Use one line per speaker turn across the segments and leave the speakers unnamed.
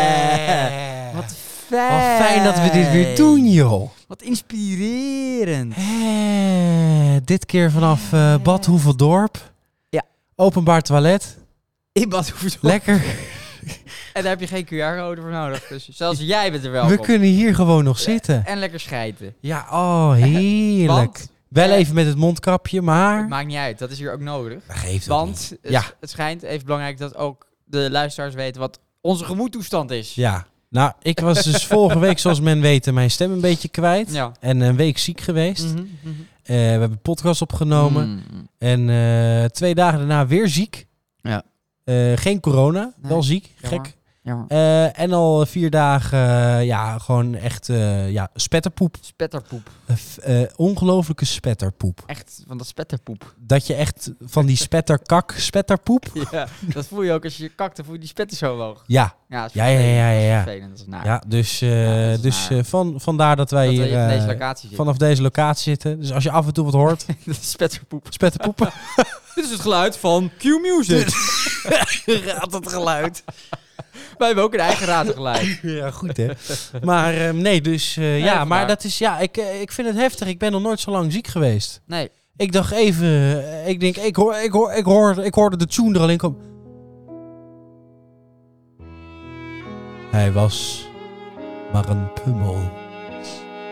Wat fijn.
Eh. Wat fijn dat we dit weer doen, joh.
Wat inspirerend.
Hé, dit keer vanaf eh Bad Hoeveldorp.
Ja.
Openbaar toilet.
In Bad Hoeverdorp.
Lekker.
En daar heb je geen QR-code voor nodig. Dus zelfs jij bent er wel
We kunnen hier gewoon nog zitten.
En lekker schijten.
Ja, oh, heerlijk.
Want,
Wel
eh,
even met het mondkapje,
het
maar...
maakt niet uit, dat is hier ook nodig.
Geeft ook niet.
Want het,
Ja.
het schijnt even belangrijk dat ook de luisteraars weten wat onze gemoedtoestand is.
Ja. Nou, ik was dus vorige week, zoals men weet, eh, mijn stem een beetje kwijt.
Ja.
En een week ziek geweest.
Mhm, mhm.
Eh, we hebben een podcast opgenomen.
Mm.
En eh, twee dagen daarna weer ziek.
Ja.
Eh, geen corona,
Nee,
wel ziek,
jammer.
gek.
Jammer.
Eh, en al vier dagen, eh, ja, gewoon echt eh, ja, spetterpoep.
Spetterpoep.
Eh, f- eh, ongelofelijke spetterpoep.
Echt, van dat spetterpoep.
Dat je echt van die spetterkak, spetterpoep.
ja, dat voel je ook als je kakt, dan voel je die spetter zo omhoog.
Ja,
Ja, dat is
Ja, ja, ja,
vervelend,
ja,
dat is
ja.
vervelend, dat is naar.
ja dus, eh,
Ja, dat is
dus
waar.
eh, van, vandaar dat wij
dat we
hier
in deze
eh,
locatie zitten.
vanaf deze locatie zitten. Dus als je af en toe wat hoort,
dat is spetterpoep.
spetterpoepen.
Dit is het geluid van Q-Music.
Gaat het geluid.
Wij hebben ook een eigen ratengeluid.
Dus, Ja, goed hè. Maar ehm, nee, dus eh, ja, maar
vandaar.
dat is, ja, ik, eh, ik vind het heftig. Ik ben nog nooit zo lang ziek geweest.
Nee,
Ik dacht even, eh, ik denk, ik, hoor, ik, hoor, ik, hoor, ik hoorde de tune er alleen komen. Hij was maar een pummel.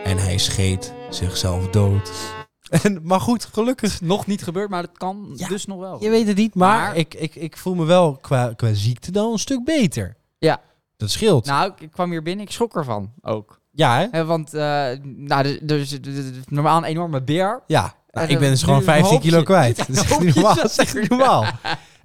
En hij scheet zichzelf dood. En, maar goed, gelukkig.
nog niet gebeurd, maar dat kan
Ja,
dus nog wel.
Je weet het niet, maar,
Maar-
Ik, ik, ik voel me wel qua, qua ziekte dan een stuk beter.
Ja.
Dat scheelt.
Nou, ik- ik kwam hier binnen, ik schrok ervan ook.
ja, hè?
Hè, want eh, nou, er, er is er is normaal een enorme beer.
Ja. Nou,
En
ik ben
dan-
dus gewoon
nu
15
hoop je-
kilo kwijt.
Ja,
Dat is
hoop
echt
je
niet normaal.
dat
Dat is echt niet
er-
normaal.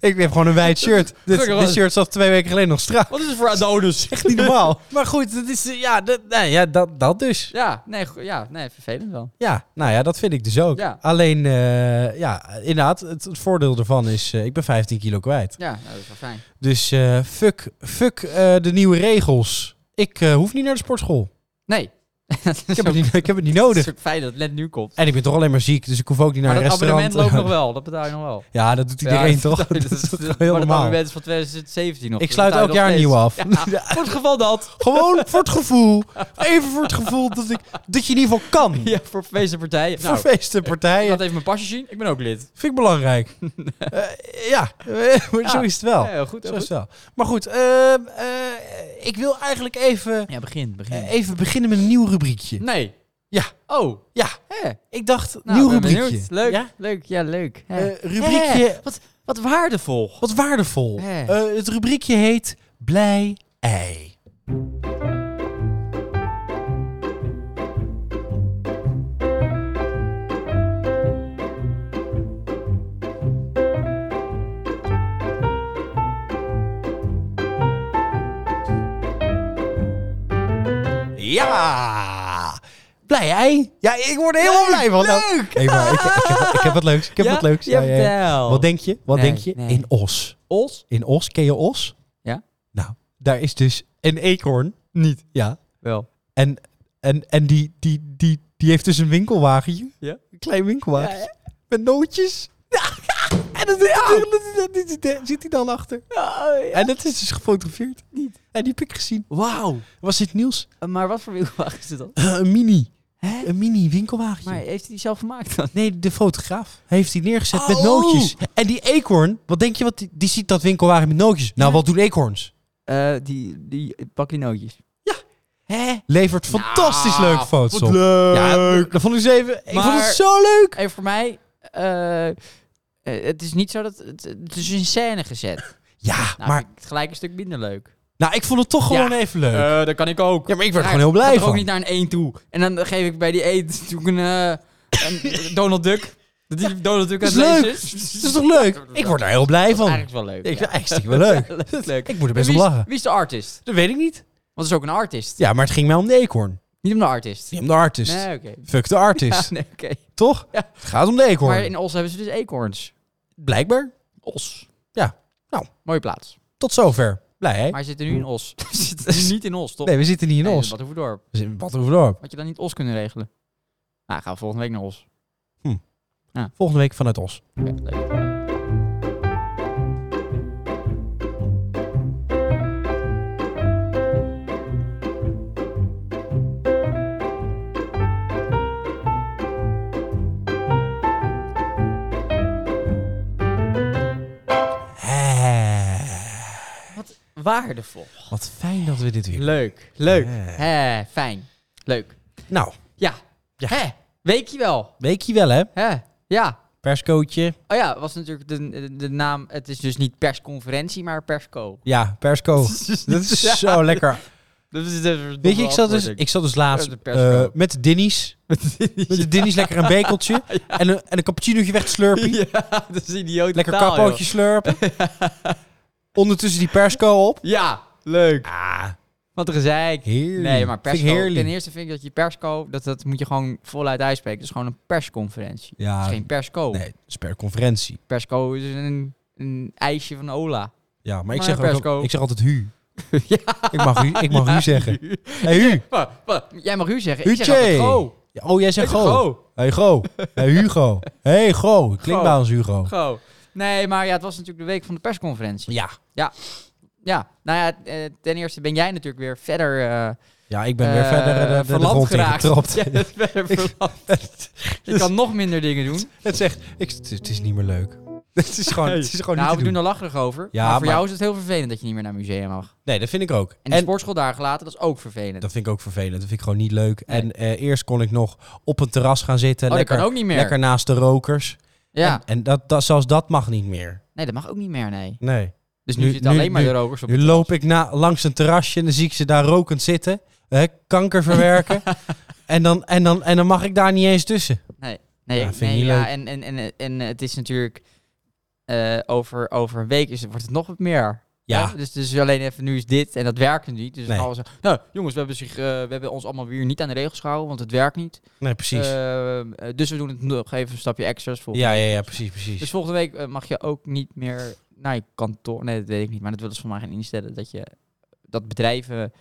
Ik heb gewoon een wijd shirt. Dit,
Gelukkig
dit
wel.
shirt zat twee weken geleden nog strak.
Wat is het voor Adonis?
Echt niet normaal. maar goed, dat is, eh, ja, dat, nou ja, dat, dat dus.
Ja, nee, go- ja, nee, vervelend wel.
Ja, nou ja, dat vind ik dus ook.
Ja.
Alleen, eh, ja, inderdaad, het, het voordeel ervan is, eh, ik ben 15 kilo kwijt.
Ja, nou, dat is wel fijn.
Dus eh, fuck, fuck eh, de nieuwe regels. Ik eh, hoef niet naar de sportschool.
Nee.
Ik heb, het niet, ik heb het niet nodig.
Het is ook fijn dat het net nu komt.
En ik ben toch alleen maar ziek, dus ik hoef ook niet naar
maar
een
dat
restaurant.
abonnement loopt nog wel, dat betaal je nog wel.
Ja, dat doet
Ja,
iedereen
dat
toch?
betaal je-
Dat is toch
maar
heel
dat
normaal.
abonnement is van 2017 nog. Nou,
Ik
dat
sluit
betaal
elk
je nog
jaar een
steeds.
nieuw af.
Ja, voor het geval dat.
Gewoon voor het gevoel. Even voor het gevoel dat, ik, dat je in ieder geval kan.
Ja, voor feesten partijen. Nou,
Voor feesten,
ik
partijen.
laat even mijn pasje zien. Ik ben ook lid.
Vind ik belangrijk. Eh, ja, eh, maar zo is het wel.
Ah. Ja, heel goed. heel
zo is het
goed.
wel. Maar goed, ehm, eh, ik wil eigenlijk even,
Ja, begin, begin.
eh, even beginnen met een nieuw rubriekje.
nee.
Ja.
Oh.
Ja,
Hè.
ik dacht,
Nou,
nieuw
ben
rubriekje.
benieuwd. Leuk,
Ja?
leuk. Ja, leuk. Hè.
Eh, rubriekje,
Hè. Wat, wat waardevol.
wat waardevol.
Hè.
Eh, het rubriekje heet Blij Ei. Ja! Blij ei. Ja, ik word er helemaal blij van.
Leuk.
Hey, maar ik, ik, heb, ik heb wat leuks. Ik heb
Ja?
wat leuks.
Ja,
Ja, ja, ja.
vertel.
Wat denk je? Wat
Nee,
denk je?
nee.
In Os.
Os?
In Os, ken je Os?
Ja.
Nou, daar is dus een eekhoorn. Niet. Ja.
Wel.
En, en, en die, die, die, die heeft dus een winkelwagentje.
Ja.
Een klein winkelwagentje.
Ja,
Met nootjes. en dat, dat- dat- dat- dat- dat- zit hij dan achter. En dat is dus gefotografeerd.
Niet.
En die heb ik gezien.
Wauw.
Was dit nieuws?
Eh, Maar wat voor winkelwagen is het dan?
een mini.
Hè?
Een mini winkelwagentje.
Maar heeft hij die zelf gemaakt dan?
Nee, de fotograaf heeft die neergezet met
Oh.
nootjes. En die eekhoorn, wat denk je, wat die, die ziet dat winkelwagen met nootjes. Nou,
Ja.
wat doen eekhoorns?
Eh, die, die pak die nootjes. Ja. Hè? Nou,
Levert fantastisch leuke foto's op.
leuk.
Ja, dat vond ik eens even. Ik
Maar-
vond het zo leuk.
En voor mij, eh, eh, het is niet zo dat het, het is in scène gezet.
Ja,
Nou,
maar
vind ik het gelijk een stuk minder leuk.
Nou, ik vond het toch
Ja.
gewoon even leuk.
Eh, dat kan ik ook.
ja, maar ik werd
Ja,
er gewoon heel blij
Ik ga er
van.
ook niet naar een 1 toe. En dan geef ik bij die 1 natuurlijk een, eh, een Donald Duck. Dat die Donald Duck aan
Dat
het
is leuk.
lezen
Dat is toch leuk? Ik word er heel blij
Dat is
van.
eigenlijk wel leuk.
Ik
ja.
vind het wel leuk.
Dat is leuk.
Ik moet er best
En
om
wie is-
lachen.
Wie is de artist?
Dat weet ik niet.
Want het is ook een artist.
Ja, maar het ging mij om de eekhoorn.
Niet om de artist.
Niet om de artist.
Nee, oké.
Fuck de artist.
Ja, nee, oké.
Toch?
Ja.
Het gaat om de eekhoorn.
Maar in Os hebben ze dus eekhoorns.
Blijkbaar.
Os.
Ja. Nou.
Mooie plaats.
Tot zover. Blij, hè?
Maar ze zitten nu in Os. Ze zitten niet in Os, toch?
Nee, we zitten niet in Os.
Wat hoeven dorp.
We zitten in Badhoevedorp.
Had je dan niet Os kunnen regelen? Nou, gaan we volgende week naar Os.
Volgende week vanuit Os.
Oké, leuk.
Hè.
Waardevol.
Wat fijn dat we dit weer...
Leuk. Leuk.
Hè.
Hè, fijn. Leuk.
Nou,
Ja.
Ja.
Hè, weet je wel.
weekje wel, hè?
Hè, ja.
Perscootje.
Oh ja, was natuurlijk de, de, de naam. Het is dus niet persconferentie, maar persco.
Ja, persco. dat is
Ja.
zo lekker.
Dat is de
Weet je, ik zat dus, ik zat dus laatst
Ja, de persco.
eh, met de dinnies. Met de dinnies lekker een bekeltje. En, een, en een cappuccinootje weg te slurpen.
Ja, dat is idioot.
Lekker
taal,
kapootje slurpen. Ondertussen die persco op.
joh. Ja, leuk.
Ah,
Wat een gezeik.
heerlijk.
Nee,
Vind
maar
ik
persco. Ten
heerlijk.
eerste vind ik dat je persco, dat, dat moet je gewoon voluit uitspreken. Het is gewoon een persconferentie. Het
Ja,
is geen persco.
nee, het is per conferentie.
Persco is een, een ijsje van Ola.
Ja, maar ik,
Maar
zeg, ook
persco.
al- ik zeg altijd hu.
Ja.
Ik mag hu, ik mag hu zeggen. Hey, hu.
Wat, wat? Jij mag u zeggen. Ik zeg altijd
Hutje.
go.
Ja, Oh, jij
Ik
zegt
zeg
go.
go.
Hey, go. Hey, Hugo. Hey, go. Klinkt
Go.
bij ons Hugo.
Go. Nee, maar ja, het was natuurlijk de week van de persconferentie.
Ja.
Ja, nou ja, eh, ten eerste ben jij natuurlijk weer verder... eh,
Ja, ik ben weer
eh,
verder eh, de- de, de,
verlamd
grond
geraakt.
ingetrapt.
Jij bent verder
Ik-
verlamd. Je kan nog minder dingen doen.
Het zegt, ik, het, het is niet meer leuk. Het is gewoon, het is gewoon
Nou,
niet
we
te doen.
doen er lacherig over.
Ja,
maar voor
maar-
jou is het heel vervelend dat je niet meer naar een museum mag.
Nee, dat vind ik ook.
En
En,
de sportschooldagen later, dat is ook vervelend. Oh,
dat vind ik ook vervelend. Dat vind ik gewoon niet leuk.
Nee.
En eh, eerst kon ik nog op een terras gaan zitten.
oh,
lekker,
dat kan ook niet meer.
lekker naast de rokers.
ja.
En, en dat, dat, zelfs dat mag niet meer.
Nee, dat mag ook niet meer, nee.
Nee.
Dus nu,
Nu-
zitten alleen
nu-
maar
nu-
de rokers op.
Nu loop ik na, langs een terrasje en dan zie ik ze daar rokend zitten. Hè, kanker verwerken. en, dan, en, dan, en dan mag ik daar niet eens tussen.
Nee,
Ja,
nee,
vind ik niet
ja
leuk.
en, en, en, en, eh, het is natuurlijk... eh, over, over een week is, het- wordt het nog wat meer.
Ja,
Hè? Dus, dus alleen even nu is dit en dat werkt niet. Dus
Nee.
alles, nou, jongens, we hebben, zich, eh, we hebben ons allemaal weer niet aan de regels gehouden, want het werkt niet.
nee, precies.
Eh, eh, dus we doen het nog even een stapje extra's volgende
ja,
week.
ja, ja, precies, precies.
Dus volgende week eh, mag je ook niet meer naar je kantoor. Nee, dat weet ik niet. Maar dat willen ze van mij gaan instellen. Dat je dat bedrijven.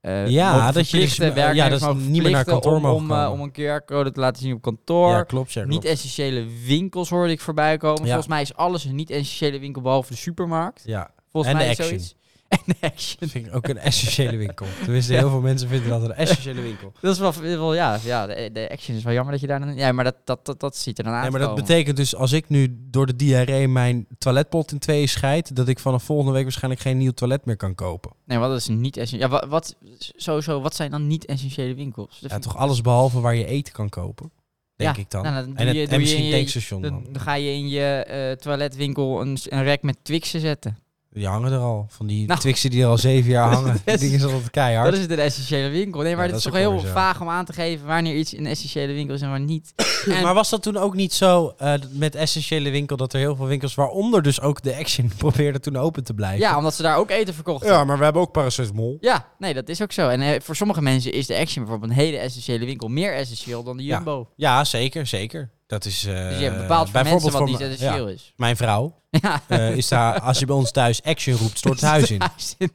eh,
Ja,
mogen
dat je dus,
verplichten,
eh, ja,
werknemers
dat ze
mogen
niet meer naar
verplichten
kantoor
om, om,
mogen
eh,
komen.
om een keer code te laten zien op kantoor.
ja, klopt. Ja, klopt.
niet essentiële winkels hoorde ik voorbij komen.
Ja.
Volgens mij is alles een niet essentiële winkel behalve de supermarkt.
ja,
Volgens
En de
mij is
Action.
zoiets. En de action.
dat vind ik ook een essentiële winkel. Tenminste, heel veel mensen vinden dat een essentiële winkel.
Dat is wel, wel ja, ja de, de action is wel jammer dat je daar dan... Ja, maar dat, dat, dat, dat ziet er dan aan
Nee, maar
te
dat
komen.
betekent dus als ik nu door de diarree mijn toiletpot in tweeën scheid, dat ik vanaf volgende week waarschijnlijk geen nieuw toilet meer kan kopen.
Nee, wat is niet essentieel? Ja, wa- wat, sowieso, wat zijn dan niet essentiële winkels? Dat
Ja,
vind ik-
toch alles behalve waar je eten kan kopen, denk
Dus Ja,
ik dan.
nou, dan doe
en, het-
je-
en
doe je
misschien
in je-
tankstation
dan,
dan.
dan ga je in je eh, toiletwinkel een, s- een rek met Twixen zetten.
Die hangen er al. Van die
Nou.
Twixen die er al zeven jaar hangen.
Dat
Die
is-
dingen zijn altijd keihard.
Dat is het een essentiële winkel. Nee, maar
Ja,
het is
dat
toch
is ook
heel
wel weer zo.
vaag om aan te geven wanneer iets een essentiële winkel is en waar niet. En-
Maar was dat toen ook niet zo eh, met essentiële winkel dat er heel veel winkels, waaronder dus ook de Action, probeerden toen open te blijven?
ja, omdat ze daar ook eten verkochten.
Ja, maar we hebben ook paracetamol.
Ja, nee, dat is ook zo. En eh, voor sommige mensen is de Action bijvoorbeeld een hele essentiële winkel meer essentieel dan de
Ja.
Jumbo.
Ja, zeker, zeker. Dat is eh,
Dus je hebt bepaald voor mensen
bijvoorbeeld
wat niet
voor me-
essentieel
ja,
is.
Mijn vrouw
Ja.
eh, is daar, als je bij ons thuis Action roept, stort het huis in.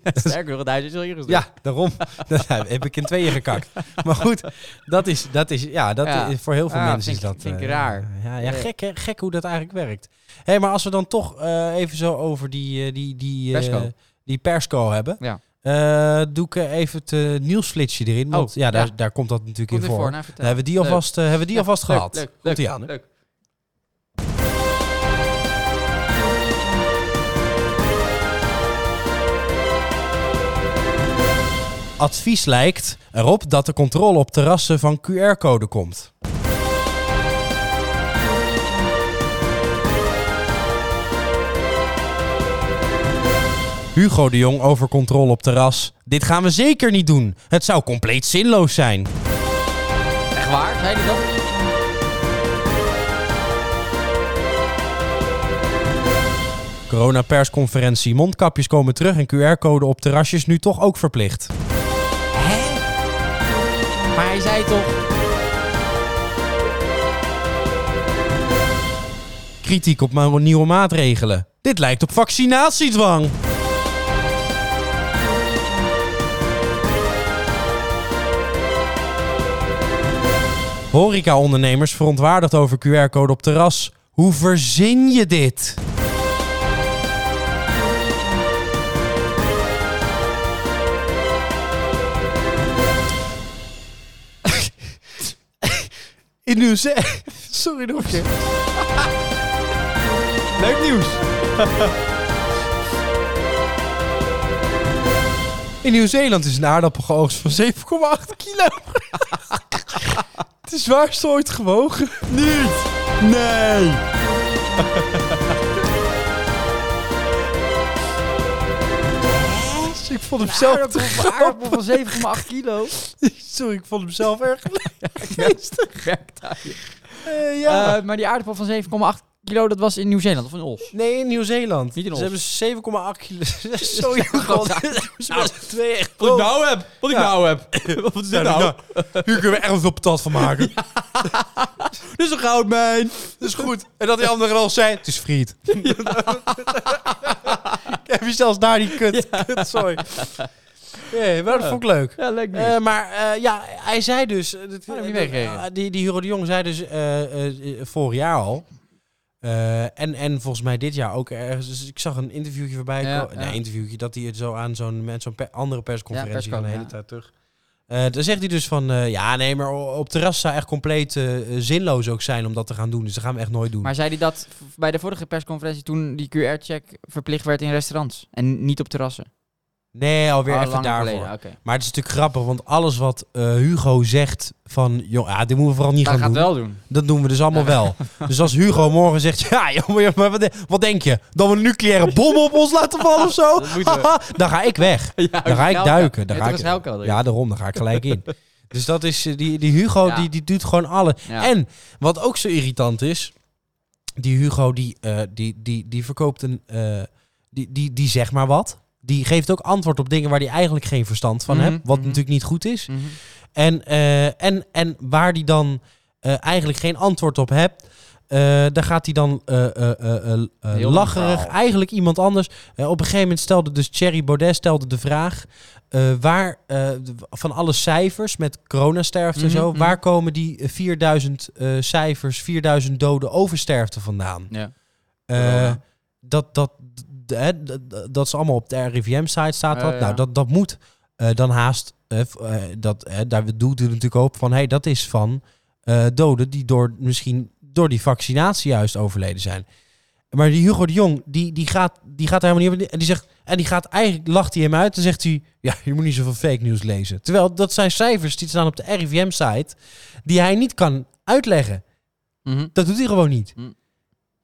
Sterker nog, het huis is al ingestort.
Ja, daarom. Dat heb ik in tweeën gekakt. Maar goed, dat is, dat is, ja, dat
Ja.
Is, voor heel veel
Ah,
mensen
vind
is
ik-
dat...
vind ik
eh,
raar.
Ja, ja
Ja.
gek, hè? gek hoe dat eigenlijk werkt. Hé, maar als we dan toch eh, even zo over die, eh, die, die, eh,
Persco.
die persco hebben.
Ja.
eh, doe ik eh, even het eh, nieuwsflitsje erin. Want
Oh,
ja, daar,
ja.
daar komt dat natuurlijk
Komt
in
weer
voor.
voor. Nou, vertel.
Dan hebben we die alvast, eh, hebben we die
Ja,
alvast
leuk,
gehad.
leuk, leuk,
Komt-ie aan, hè?
leuk.
Advies lijkt erop dat de controle op terrassen van QR-code komt. Hugo de Jong over controle op terras. Dit gaan we zeker niet doen. Het zou compleet zinloos zijn.
Echt waar? Zei hij dat?
Corona-persconferentie. Mondkapjes komen terug en QR-code op terrasjes nu toch ook verplicht.
Hè? Maar hij zei toch...
Kritiek op ma- nieuwe maatregelen. Dit lijkt op vaccinatiedwang. Horeca-ondernemers verontwaardigd over QR-code op terras. Hoe verzin je dit? In nieuws, hè? Sorry, Noortje. Leuk nieuws. In Nieuw-Zeeland is een aardappel geoogst van 7,8 kilo. Het is zwaarste ooit gewogen. Niet! Nee! ik vond hem zelf te
Aardappel, aardappel van 7,8 kilo.
Sorry, ik vond hem zelf erg geestig.
Werkt daar.
Eh, ja.
Eh, maar die aardappel van 7,8 kilo, dat was in Nieuw-Zeeland of in Os?
nee, in Nieuw-Zeeland.
Niet in
Ze hebben 7,8 kilo. Sorry,
Ja,
God.
nou,
Nou, twee echt
Wat ik nou heb. Wat ik
Ja.
nou heb. Wat is dit nou?
Hier kunnen we echt veel patat van maken.
Dit is een goudmijn.
Dat is goed. En dat die andere al zei, het is friet. Heb je zelfs daar die kut. kut sorry. Nee, maar dat vond ik leuk.
Ja, leuk
Eh, maar eh, ja, hij zei dus... eh, dat-
Oh, dat heb ik niet meegekregen.
eh, die, die Hugo de Jong zei dus eh, eh, eh, vorig jaar al... eh, en, en volgens mij dit jaar ook ergens. Dus ik zag een interviewtje voorbij.
Ja,
komen.
ja.
Nee, interviewtje dat hij het zo aan zo'n met zo'n pe- andere persconferentie van de hele
persconferentie,
tijd terug. Eh dan zegt hij dus van, eh, ja nee, maar o- op terras zou echt compleet eh, zinloos ook zijn om dat te gaan doen. Dus dat gaan we echt nooit doen.
Maar zei hij dat v- bij de vorige persconferentie toen die QR-check verplicht werd in restaurants en niet op terrassen?
Nee, alweer
Ah,
even
lang
daarvoor.
geleden, oké.
Maar het is natuurlijk grappig, want alles wat eh, Hugo zegt van... Jong, ah, dit moeten we vooral niet
Dat
gaan
gaat
doen.
wel doen.
Dat doen we dus allemaal wel. Dus als Hugo morgen zegt... Ja, joh, maar- maar wat, de- wat denk je? Dat we een nucleaire bom op ons laten vallen of zo?
Dat moeten we.
dan ga ik weg.
Ja,
Dan ga ik duiken. Dan
Ja,
ga
toch
ik,
een schuilkelder.
ja, daarom. Dan ga ik gelijk in. Dus dat is... eh, Die, die Hugo,
Ja.
die, die doet gewoon alles.
Ja.
En wat ook zo irritant is, die Hugo die, eh, die, die, die verkoopt een. eh, die, die, die zegt maar wat. Die geeft ook antwoord op dingen waar hij eigenlijk geen verstand van
Mhm,
hebt. Wat
mhm.
natuurlijk niet goed is.
Mhm.
En, eh, en, en waar die dan eh, eigenlijk geen antwoord op hebt. eh, daar gaat hij dan eh, eh, eh, eh, eh,
Heel lang
lacherig.
verhaal.
Eigenlijk iemand anders. Eh, op een gegeven moment stelde dus Thierry Baudet stelde de vraag. eh, waar eh, d- van alle cijfers met coronasterfte
Mhm,
en zo,
mhm.
waar komen die eh, 4000 eh, cijfers, 4000 doden oversterfte vandaan?
Ja.
Eh,
Corona.
dat, dat, d- hè, d- d- dat is allemaal op de RIVM-site staat
Ja,
dat.
ja,
Nou,
ja.
dat, dat moet eh, dan haast. eh, v- eh, dat, hè, daar doet u natuurlijk ook van. Hey, dat is van eh, doden die door, misschien door die vaccinatie juist overleden zijn. Maar die Hugo de Jong, die, die, gaat, die gaat er helemaal niet op. En die zegt. En die gaat eigenlijk, lacht hij hem uit en zegt hij... Ja, je moet niet zoveel fake nieuws lezen. Terwijl dat zijn cijfers die staan op de RIVM-site... die hij niet kan uitleggen.
Mhm.
Dat doet hij gewoon niet.
Mm.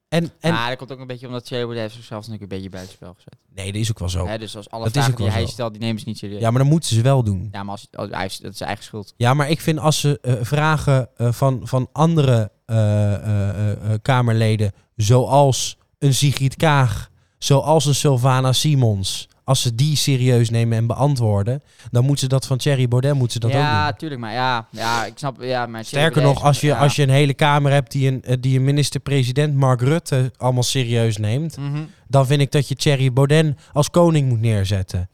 En, en
Ah, dat komt ook een beetje omdat Thierry Baudet heeft zichzelf natuurlijk een beetje buitenspel gezet.
Nee, dat is ook wel zo.
Hè, dus als alle
Oh. Dat is
vragen
ook
die
wel
hij
zo.
stelt, die nemen ze niet serieus.
Ja, maar dan moeten ze wel doen.
Ja, maar als, als, hij is- dat is zijn eigen schuld.
Ja, maar ik vind als ze eh, vragen eh, van, van andere eh, eh, eh, eh, Kamerleden, zoals een Sigrid Kaag, zoals een Sylvana Simons, als ze die serieus nemen en beantwoorden, dan moeten ze dat van Thierry Baudet moeten ze dat ook doen.
ja, tuurlijk. Maar ja, ja, ik snap. Ja, maar Thierry
Sterker
Baudet
nog,
is-
als je,
ja.
als je een hele Kamer hebt die een, eh, die een minister-president Mark Rutte allemaal serieus neemt,
Mhm.
dan vind ik dat je Thierry Baudet als koning moet neerzetten.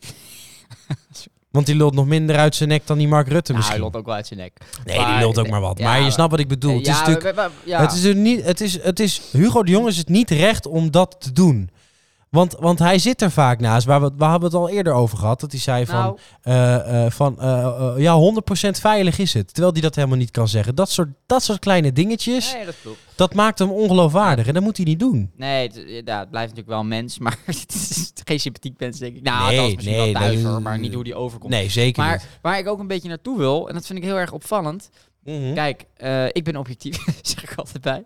Want die lult nog minder uit zijn nek dan die Mark Rutte
Nou, hij
misschien.
loopt ook wel uit zijn nek.
Nee, die lult ook maar wat.
Ja,
maar je
maar-
snapt wat ik bedoel. het is
ja,
natuurlijk...
we- we- we- ja.
Het is er niet, het is, het is, Hugo de Jong is het niet recht om dat te doen. Want, want hij zit er vaak naast. Waar we, we hebben het al eerder over gehad. Dat hij zei van,
Nou,
eh, eh, van eh, eh, ja, 100% veilig is het. Terwijl hij dat helemaal niet kan zeggen. Dat soort, dat soort kleine dingetjes,
nee, dat klopt.
dat maakt hem ongeloofwaardig. En dat moet hij niet doen.
Nee, het, ja, het blijft natuurlijk wel een mens, maar het is geen sympathiek mens, denk ik. Nou,
Nee,
dat is misschien
nee,
wel thuis,
nee,
hoor, maar niet hoe die overkomt.
Nee, zeker
maar
niet.
waar ik ook een beetje naartoe wil, en dat vind ik heel erg opvallend,
Mhm.
Kijk, eh, ik ben objectief, zeg ik altijd bij.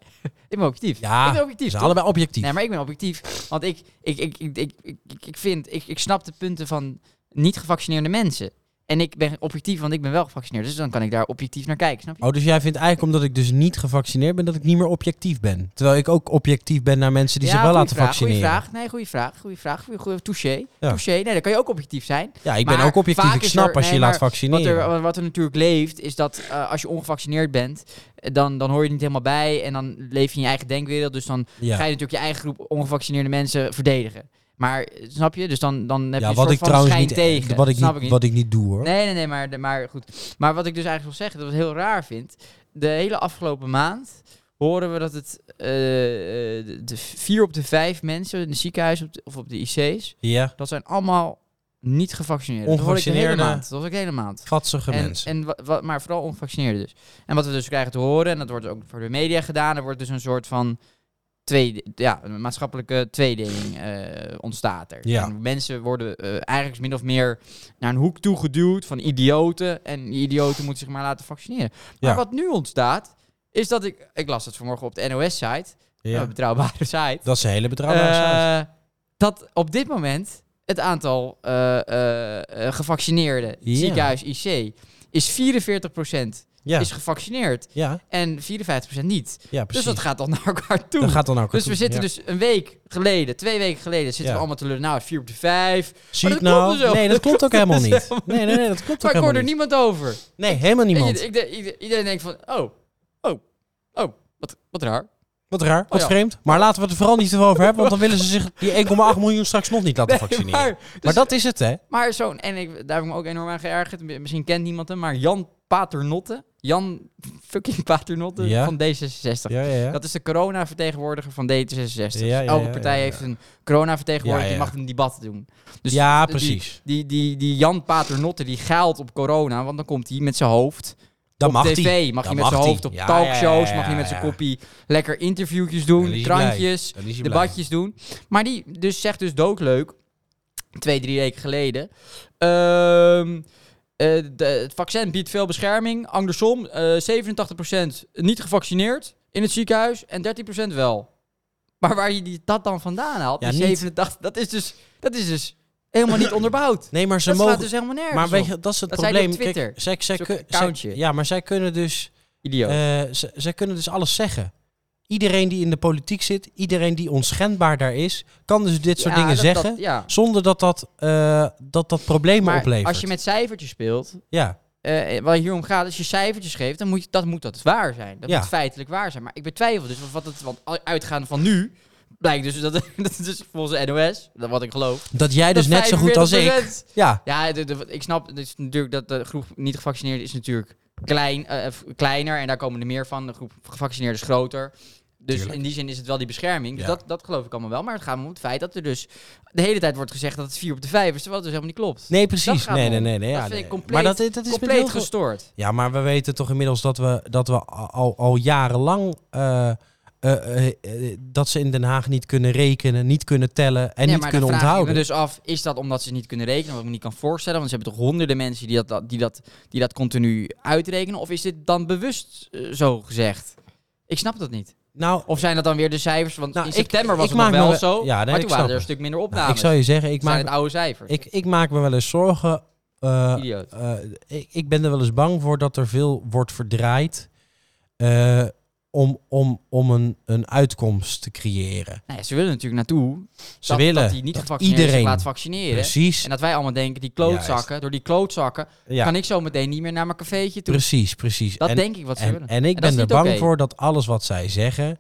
ik ben objectief.
Ja,
ik ben
we
objectief.
zijn
toch?
allebei objectief.
Nee, maar ik ben objectief. Want ik, ik, ik, ik, ik, ik, ik- ik vind, ik, ik snap de punten van niet gevaccineerde mensen. En ik ben objectief, want ik ben wel gevaccineerd. Dus dan kan ik daar objectief naar kijken, snap je?
Oh, dus jij vindt eigenlijk omdat ik dus niet gevaccineerd ben, dat ik niet meer objectief ben. Terwijl ik ook objectief ben naar mensen die
Ja,
zich wel
goeie
laten
vraag,
vaccineren.
Goeie vraag, nee, goede vraag, goede vraag, goeie, goeie, touché,
Ja.
touché. Nee, dan kan je ook objectief zijn.
Ja, ik ben
Maar
ook objectief.
vaak
Ik
is
snap
er-
als je
nee,
je laat
maar Wat
vaccineren.
er, wat er natuurlijk leeft, is dat eh, als je ongevaccineerd bent, eh, dan, dan hoor je er niet helemaal bij. En dan leef je in je eigen denkwereld. Dus dan
ja.
ga je natuurlijk je eigen groep ongevaccineerde mensen verdedigen. Maar eh, snap je? Dus dan, dan heb je
Ja,
een
wat
soort
ik
van
trouwens
schijn
niet, eh,
tegen.
Wat ik
snap
niet,
ik niet.
Wat ik niet doe hoor.
Nee, nee, nee, maar, maar goed. Maar wat ik dus eigenlijk wil zeggen, dat ik het heel raar vind. De hele afgelopen maand horen we dat het eh, eh, de, de vier op de vijf mensen in de ziekenhuis op de- of op de IC's,
Ja,
dat zijn allemaal niet gevaccineerd. Dat hoorde ik de hele
Ongevaccineerde-
maand. Dat was ik de hele maand.
vatsige
En,
mensen.
en wa- wa- maar vooral ongevaccineerden dus. En wat we dus krijgen te horen, en dat wordt ook voor de media gedaan, er wordt dus een soort van tweede, ja, een maatschappelijke tweedeling eh, ontstaat er.
Ja.
En mensen worden eh, eigenlijk min of meer naar een hoek toegeduwd van idioten. En die idioten moeten zich maar laten vaccineren. Maar
Ja.
wat nu ontstaat, is dat ik, ik las het vanmorgen op de NOS-site,
ja.
een betrouwbare site.
Dat is een hele betrouwbare site.
eh, dat op dit moment het aantal eh, eh, eh, gevaccineerden,
Ja.
ziekenhuis IC, is 44%
Ja,
is gevaccineerd
ja,
en 54% niet.
ja,
Dus
precies.
dat gaat dan naar elkaar toe.
Dat gaat dan ook.
dus we
naartoe,
zitten
ja.
dus een week geleden, twee weken geleden, zitten
Ja.
we allemaal te lullen. Nou, 4 op de 5.
Zie
Maar
ik
dat klopt
nou?
dus ook.
nee, dat klopt ook helemaal
dus
niet.
helemaal
Nee, nee, nee, dat klopt ook
Maar ik hoor
helemaal
er
niet.
niemand over.
Nee, helemaal
Weet
niemand.
je, ik denk- ieder- iedereen denkt van, oh, oh, oh, wat, wat raar.
Wat raar, wat
Oh ja.
vreemd. Maar laten we het er vooral niet te veel over hebben, want dan willen ze zich die 1,8 miljoen straks nog niet laten
Nee,
vaccineren.
maar-
Maar,
dus-
dat is het, hè?
Maar zo'n, en ik, daar heb ik me ook enorm aan geërgerd. Mi- Misschien kent niemand hem, maar Jan Paternotte. Jan fucking Paternotte
Ja.
van D66.
Ja, ja, ja.
Dat is de corona-vertegenwoordiger van D66.
Ja, ja,
Elke
ja,
partij
ja, ja.
heeft een corona-vertegenwoordiger
Ja, ja.
die mag een debat doen. Dus
ja,
die-
precies.
Die, die, die Jan Paternotte die gaalt op corona, want dan komt hij met zijn hoofd
Dan
op
mag
tv.
die.
Mag
Dan
hij met zijn
mag
hoofd
die.
op
Ja,
talkshows,
ja, ja,
mag hij met
ja,
zijn
ja.
koppie lekker interviewtjes
Dan
doen,
is hij blij.
krantjes
Dan is hij blij.
debatjes doen. Maar die dus zegt dus doodleuk, twee, drie weken geleden. ehm, eh, de- het vaccin biedt veel bescherming. Andersom, eh 87% niet gevaccineerd in het ziekenhuis en 13% wel. Maar waar je die, dat dan vandaan haalt,
Ja,
die
niet.
87, dat is dus, dat is dus helemaal niet onderbouwd.
Nee, maar ze
dat
mogen...
slaat dus helemaal nergens
maar weet
op.
je, dat is het
Dat zei hij
probleem.
op Twitter.
Kijk, zij, zij,
Zo'n
kun-
accountje.
zij- ja, maar zij kunnen dus...
Idioot.
eh, ze- zij kunnen dus alles zeggen. Iedereen die in de politiek zit, iedereen die onschendbaar daar is, kan dus dit soort
Ja,
dingen
dat-
zeggen.
dat- ja.
Zonder dat dat, eh, dat, dat problemen
Maar
oplevert.
als je met cijfertjes speelt,
Ja,
eh, waar hier om gaat, als je cijfertjes geeft, dan moet, je, dat, moet dat waar zijn. Dat
Ja.
moet feitelijk waar zijn. Maar ik betwijfel dus, want wat het, want al- uitgaande van nu, blijkt dus dat, dat is dus volgens de NOS, dat wat ik geloof.
dat jij dus
dat
net zo goed als ik.
45%
Ja,
Ja, de- de- ik snap dus natuurlijk dat de groep niet gevaccineerden is natuurlijk klein, eh, f- kleiner en daar komen er meer van. De groep gevaccineerden is groter. Dus
Tuurlijk.
in die zin is het wel die bescherming. Dus
Ja.
dat, dat geloof ik allemaal wel. Maar het gaat me om het feit dat er dus de hele tijd wordt gezegd dat het 4 op de 5 is, terwijl het dus helemaal niet klopt.
nee, precies.
gaat
Nee,
me
nee,
om.
nee, nee.
Dat
ja,
vind ik
nee.
compleet-
maar dat, dat is met heel
Compleet
veel-
gestoord.
Ja, maar we weten toch inmiddels dat we, dat we al, al jarenlang. eh, eh, eh, eh, dat ze in Den Haag niet kunnen rekenen, niet kunnen tellen en
Nee,
niet
maar
kunnen
dan vraag
onthouden.
Ik me dus af, is dat omdat ze het niet kunnen rekenen, wat ik me niet kan voorstellen? Want ze hebben toch honderden mensen die dat- dat, die dat, die dat continu uitrekenen? Of is dit dan bewust eh, zo gezegd? Ik snap dat niet.
Nou,
Of zijn dat dan weer de cijfers? Want
Nou,
in
ik-
september was
ik
het nog
maak me wel-
wel zo,
ja, nee,
maar
ik
toen
snap
waren er
het.
een stuk minder
nou, ik
opnames.
zou je zeggen, ik
Het zijn
maak,
het oude cijfers.
ik, ik maak me wel eens zorgen. eh,
Idioot.
eh, ik, ik ben er wel eens bang voor dat er veel wordt verdraaid. eh, om, om, om een, een uitkomst te creëren.
Nou ja, ze willen natuurlijk naartoe
Ze
dat,
willen
dat die niet
dat
gevaccineerd
iedereen
zich laat vaccineren.
Precies,
En dat wij allemaal denken, die klootzakken, door die klootzakken
ja,
kan ik zo meteen niet meer naar mijn cafeetje toe.
precies, precies.
Dat
en,
denk ik wat ze
En,
willen.
en ik
En dat
ben
is
er
niet
bang
oké.
voor dat alles wat zij zeggen.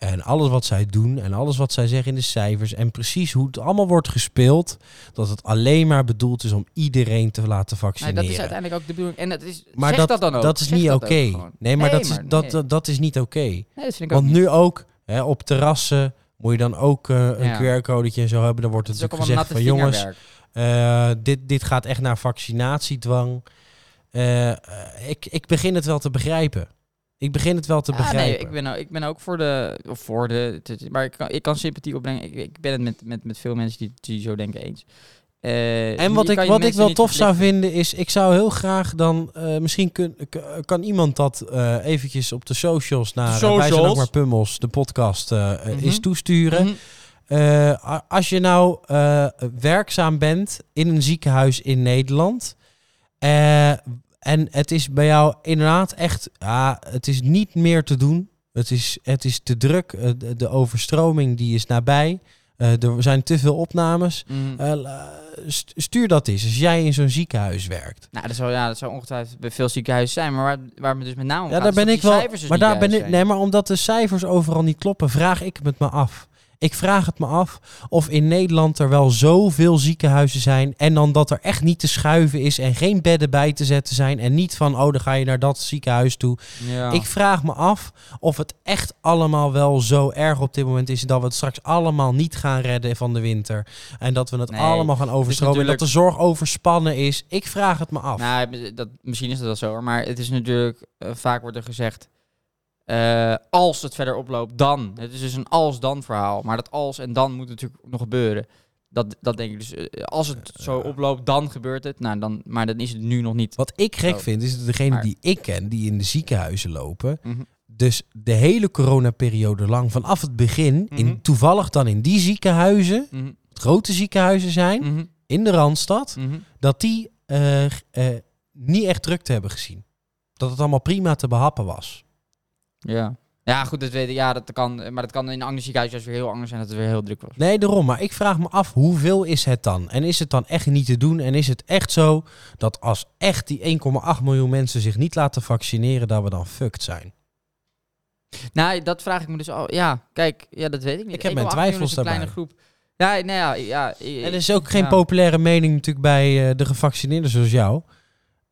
En alles wat zij doen en alles wat zij zeggen in de cijfers en precies hoe het allemaal wordt gespeeld, dat het alleen maar bedoeld is om iedereen te laten
Nee,
vaccineren.
dat is uiteindelijk ook de bedoeling. En dat is,
maar
zeg
dat,
dat, dan ook.
dat is
Zeg
niet
dat
oké.
ook gewoon.
Nee, maar,
Nee,
dat,
maar
is, dat,
nee.
dat, dat is niet oké.
Nee, dat vind ik ook
Want nu ook hè, op terrassen moet je dan ook eh, een
Ja.
QR-codetje en zo hebben. Dan wordt
Het is ook
natuurlijk
allemaal
gezegd
natte
van jongens,
vingerwerk.
eh, dit, dit gaat echt naar vaccinatiedwang. Eh, eh, ik, ik begin het wel te begrijpen. Ik begin het wel te
Ja,
begrijpen.
Ah, nee, ik ben, ook- ik ben ook voor de... Of voor de het is- maar ik kan, ik kan sympathie opbrengen. Ik, ik ben het met, met, met veel mensen die, die zo denken eens. Eh,
En wat
je
ik,
kan je
wat ik
mensen
wel
niet
tof zou
verplichten.
vinden is, ik zou heel graag dan, eh, misschien kun, k- kan iemand dat eh, eventjes op de socials naar eh, Wij zijn
socials.
ook maar Pummels, de podcast, eh, eh,
Mhm.
is toesturen.
Mhm.
Eh, a- als je nou eh, werkzaam bent in een ziekenhuis in Nederland. eh, en het is bij jou inderdaad echt. ja, het is niet meer te doen. Het is, het is te druk. eh, de, de overstroming die is nabij. Eh, er zijn te veel opnames.
Mhm.
Eh, la- st- stuur dat eens. Als jij in zo'n ziekenhuis werkt.
Nou, dat zou, ja, dat zou ongetwijfeld bij veel ziekenhuizen zijn. Maar waar, waar me dus met name om
Ja,
gaat,
daar
is dat
ben ik
die
wel.
cijfers dus
Maar
niet
daar ben
juist
ik.
zijn.
Nee, maar omdat de cijfers overal niet kloppen, vraag ik het me af. Ik vraag het me af of in Nederland er wel zoveel ziekenhuizen zijn. En dan dat er echt niet te schuiven is en geen bedden bij te zetten zijn. En niet van, oh, dan ga je naar dat ziekenhuis toe.
Ja.
Ik vraag me af of het echt allemaal wel zo erg op dit moment is. Dat we het straks allemaal niet gaan redden van de winter. En dat we het
Nee,
allemaal gaan overstromen. En dat de zorg overspannen is. Ik vraag het me af.
Nou, dat, misschien is dat wel zo hoor. Maar het is natuurlijk, eh, vaak wordt er gezegd, eh, als het verder oploopt, dan. Het is dus een als-dan verhaal. Maar dat als en dan moet natuurlijk nog gebeuren. Dat, dat denk ik dus. eh, Als het zo oploopt, dan gebeurt het. Nou, dan, maar dan is het nu nog niet.
Wat ik gek
Oh.
vind, is dat degene
Maar-
die ik ken, die in de ziekenhuizen lopen,
Mhm.
dus de hele coronaperiode lang, vanaf het begin,
Mhm.
in, toevallig dan in die ziekenhuizen,
Mhm,
het grote ziekenhuizen zijn,
mhm,
in de Randstad,
mhm.
dat die eh, eh, niet echt drukte hebben gezien. Dat het allemaal prima te behappen was.
Ja. Ja, goed, dat weet ik. Ja, dat kan. eh, Maar dat kan in een ander ziekenhuis juist weer heel anders zijn dat het weer heel druk was.
Nee, daarom. Maar ik vraag me af, hoeveel is het dan? En is het dan echt niet te doen? En is het echt zo dat als echt die 1,8 miljoen mensen zich niet laten vaccineren, dat we dan fucked zijn?
Nou, dat vraag ik me dus al. Ja, kijk, ja, dat weet ik niet.
Ik heb
1,8
mijn
miljoen is
twijfels
een kleine
daarbij.
groep. Ja, nou ja, ja. i-
En er is ook geen
ja.
populaire mening natuurlijk bij eh, de gevaccineerden zoals jou.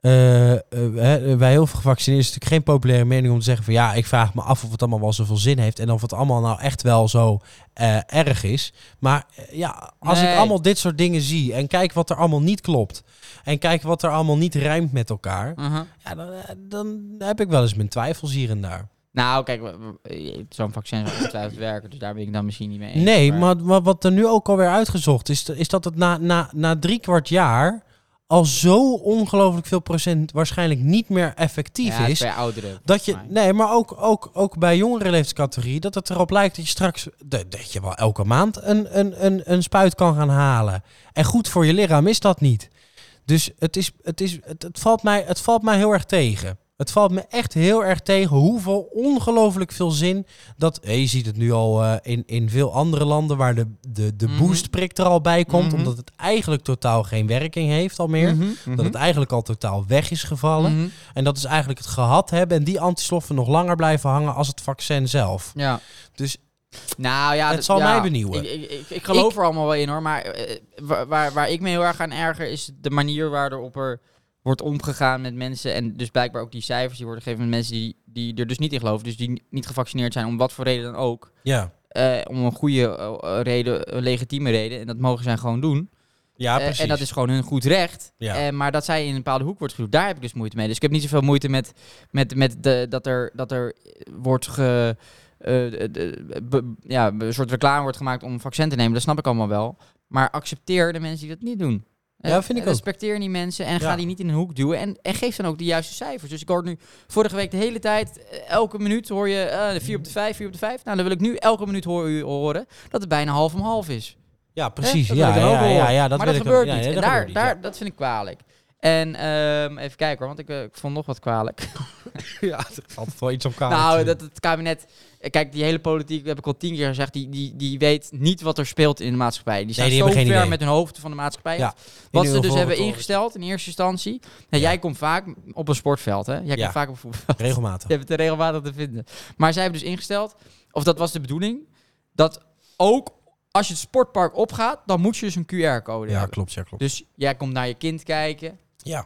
Eh, eh, hè, bij heel veel gevaccineerden is het natuurlijk geen populaire mening om te zeggen van ja, ik vraag me af of het allemaal wel zoveel zin heeft en of het allemaal nou echt wel zo eh, erg is. Maar eh, ja, als
Nee.
ik allemaal dit soort dingen zie en kijk wat er allemaal niet klopt en kijk wat er allemaal niet rijmt met elkaar,
Aha.
ja, dan, eh, dan heb ik wel eens mijn twijfels hier en daar.
Nou, kijk, w- w- eh, zo'n vaccin zou ongetwijfeld werken, dus daar ben ik dan misschien niet mee eens.
Nee, maar, maar wat er nu ook alweer uitgezocht is, is dat het na, na, na drie kwart jaar al zo ongelooflijk veel procent waarschijnlijk niet meer effectief
ja, het
is.
bij ouderen.
Dat je,
volgens mij.
nee, maar ook, ook, ook bij jongere leeftijdscategorie, dat het erop lijkt dat je straks, dat dat je wel elke maand een, een, een, een spuit kan gaan halen. En goed voor je lichaam is dat niet. Dus het, is, het, is, het, het, valt mij, het valt mij heel erg tegen. Het valt me echt heel erg tegen hoeveel ongelooflijk veel zin dat... eh, Je ziet het nu al eh, in, in veel andere landen waar de, de, de
Mhm.
boostprik er al bij komt.
Mhm.
Omdat het eigenlijk totaal geen werking heeft al meer.
Mhm,
Dat
mhm,
het eigenlijk al totaal weg is gevallen.
mhm.
En dat is eigenlijk het gehad hebben. En die antisloffen nog langer blijven hangen als het vaccin zelf.
Ja.
Dus
Nou ja,
het
dat-
zal
ja.
mij benieuwen.
Ik, ik, ik, ik geloof er allemaal wel in hoor, maar eh, waar, waar, waar ik me heel erg aan erger is de manier waarop er wordt omgegaan met mensen. En dus blijkbaar ook die cijfers die worden gegeven met mensen die, die er dus niet in geloven. Dus die ni- niet gevaccineerd zijn, om wat voor reden dan ook.
ja.
Eh, om een goede eh, reden, een legitieme reden. En dat mogen zij gewoon doen.
Ja,
Eh, en dat is gewoon hun goed recht.
Ja.
Eh, maar dat zij in een bepaalde hoek wordt geduwd, daar heb ik dus moeite mee. Dus ik heb niet zoveel moeite met, met, met de, dat, er, dat er wordt ge, eh, de- de- be- ja, een soort reclame wordt gemaakt om een vaccin te nemen. Dat snap ik allemaal wel. Maar accepteer de mensen die dat niet doen. Eh,
Ja, vind ik ook.
Respecteer die mensen en ga
Ja.
die niet in een hoek duwen. En, en geef dan ook de juiste cijfers. Dus ik hoor nu vorige week de hele tijd, eh, elke minuut hoor je eh 4 op de 5, 4 op de 5. Nou, dan wil ik nu elke minuut hoor, horen dat het bijna half om half is.
ja, precies.
Hè? Eh,
Ja,
Dat wil ik
ja,
dan ook
ja,
wel
ja,
horen.
dat
maar
wil
dat
ik
gebeurt
ook.
niet.
Ja, nee,
en
dat
daar,
gebeurt niet,
daar,
ja.
dat vind ik kwalijk. En ehm, even kijken hoor, want ik, eh, ik vond nog wat kwalijk.
Ja, er is altijd wel iets op kaart.
nou, dat het kabinet... eh, Kijk, die hele politiek, dat heb ik al tien keer gezegd... die, die, die weet niet wat er speelt in de maatschappij. Die staan
die
zo
hebben
ver
geen idee.
met hun hoofd van de maatschappij.
Ja,
af. wat ze dus
Euroforum
hebben
horen.
ingesteld in eerste instantie... Nou,
Ja.
Jij komt vaak op een sportveld, hè? Jij
Ja.
komt vaak op een voetbal.
Regelmatig.
Je hebt het er regelmatig te vinden. Maar zij hebben dus ingesteld, of dat was de bedoeling... dat ook als je het sportpark opgaat... dan moet je dus een QR-code
Ja,
hebben.
klopt, ja, klopt.
Dus jij komt naar je kind kijken
Ja,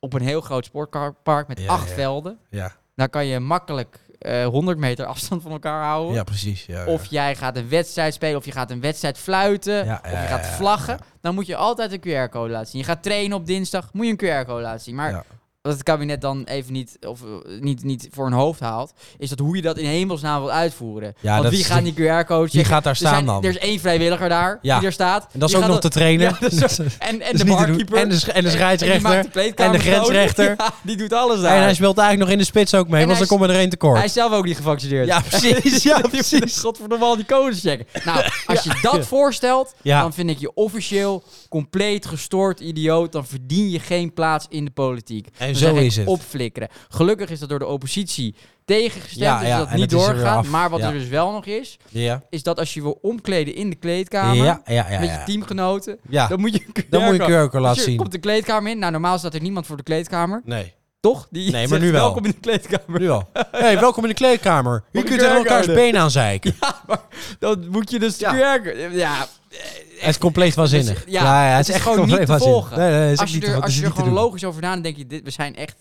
op een heel groot sportpark met
Ja,
acht
ja.
velden.
ja,
Daar kan je makkelijk eh 100 meter afstand van elkaar houden.
ja precies. Ja,
Of jij gaat een wedstrijd spelen, of je gaat een wedstrijd fluiten,
Ja,
of
ja,
je gaat
ja, ja.
vlaggen. Dan moet je altijd een QR-code laten zien. Je gaat trainen op dinsdag, moet je een QR-code laten zien. Maar
Ja.
wat het kabinet dan even niet, of, eh, niet, niet voor hun hoofd haalt, is dat hoe je dat in hemelsnaam wilt uitvoeren.
Ja,
Want
dat
wie
is-
gaat die QR-code
Wie
checken?
gaat daar
Er,
staan
zijn-
dan?
er is één vrijwilliger daar,
Ja.
die er staat.
en dat is
Die
ook
gaat
nog te trainen.
Ja, dat is
Dat is
En, en
niet
de
te doen.
barkeeper.
En de, sch- en de
En die
scheidsrechter.
maakt de kleedkamer
en de
groot.
grensrechter.
Ja, die doet alles daar.
En hij speelt eigenlijk nog in de spits ook mee,
Nou, En
want
hij
dan komt er één tekort.
Hij is zelf ook niet gevaccineerd.
Ja, precies. Ja, precies.
Godverdomme al die codes checken. Nou, als je dat voorstelt,
Ja.
dan vind ik je officieel compleet gestoord idioot. Dan verdien je geen plaats in de politiek.
En
Dan
zo
zeg ik,
is het.
Opflikkeren. Gelukkig is dat door de oppositie tegengestemd.
Ja,
dus
ja,
dat
en
niet
het is er weer
doorgaat.
af.
Maar wat
Ja.
er dus wel nog is,
Ja.
is dat als je wil omkleden in de
Ja,
kleedkamer...
ja, ja. ja,
Met je teamgenoten.
Ja.
Dan moet je een
Dan moet je
QR-code.
QR-code laten
Dus je komt
zien.
de kleedkamer in. Nou, normaal staat er niemand voor de kleedkamer.
Nee.
Toch? Die
Nee, maar
zegt,
nu wel.
Welkom in de kleedkamer.
Nu wel. hey, welkom in de kleedkamer. Je
Op de
kunt tegen elkaars
QR-code.
been aanzeiken.
Dan moet je dus de QR-code... Ja,
Het is compleet waanzinnig.
Dus, ja,
het
is gewoon
compleet
niet te
waanzinnig.
volgen.
Nee, nee, het is
als
ook
je
niet te-
er,
het
als
is
je er
niet te
gewoon
doen.
logisch over na, dan denk je, dit, we zijn echt,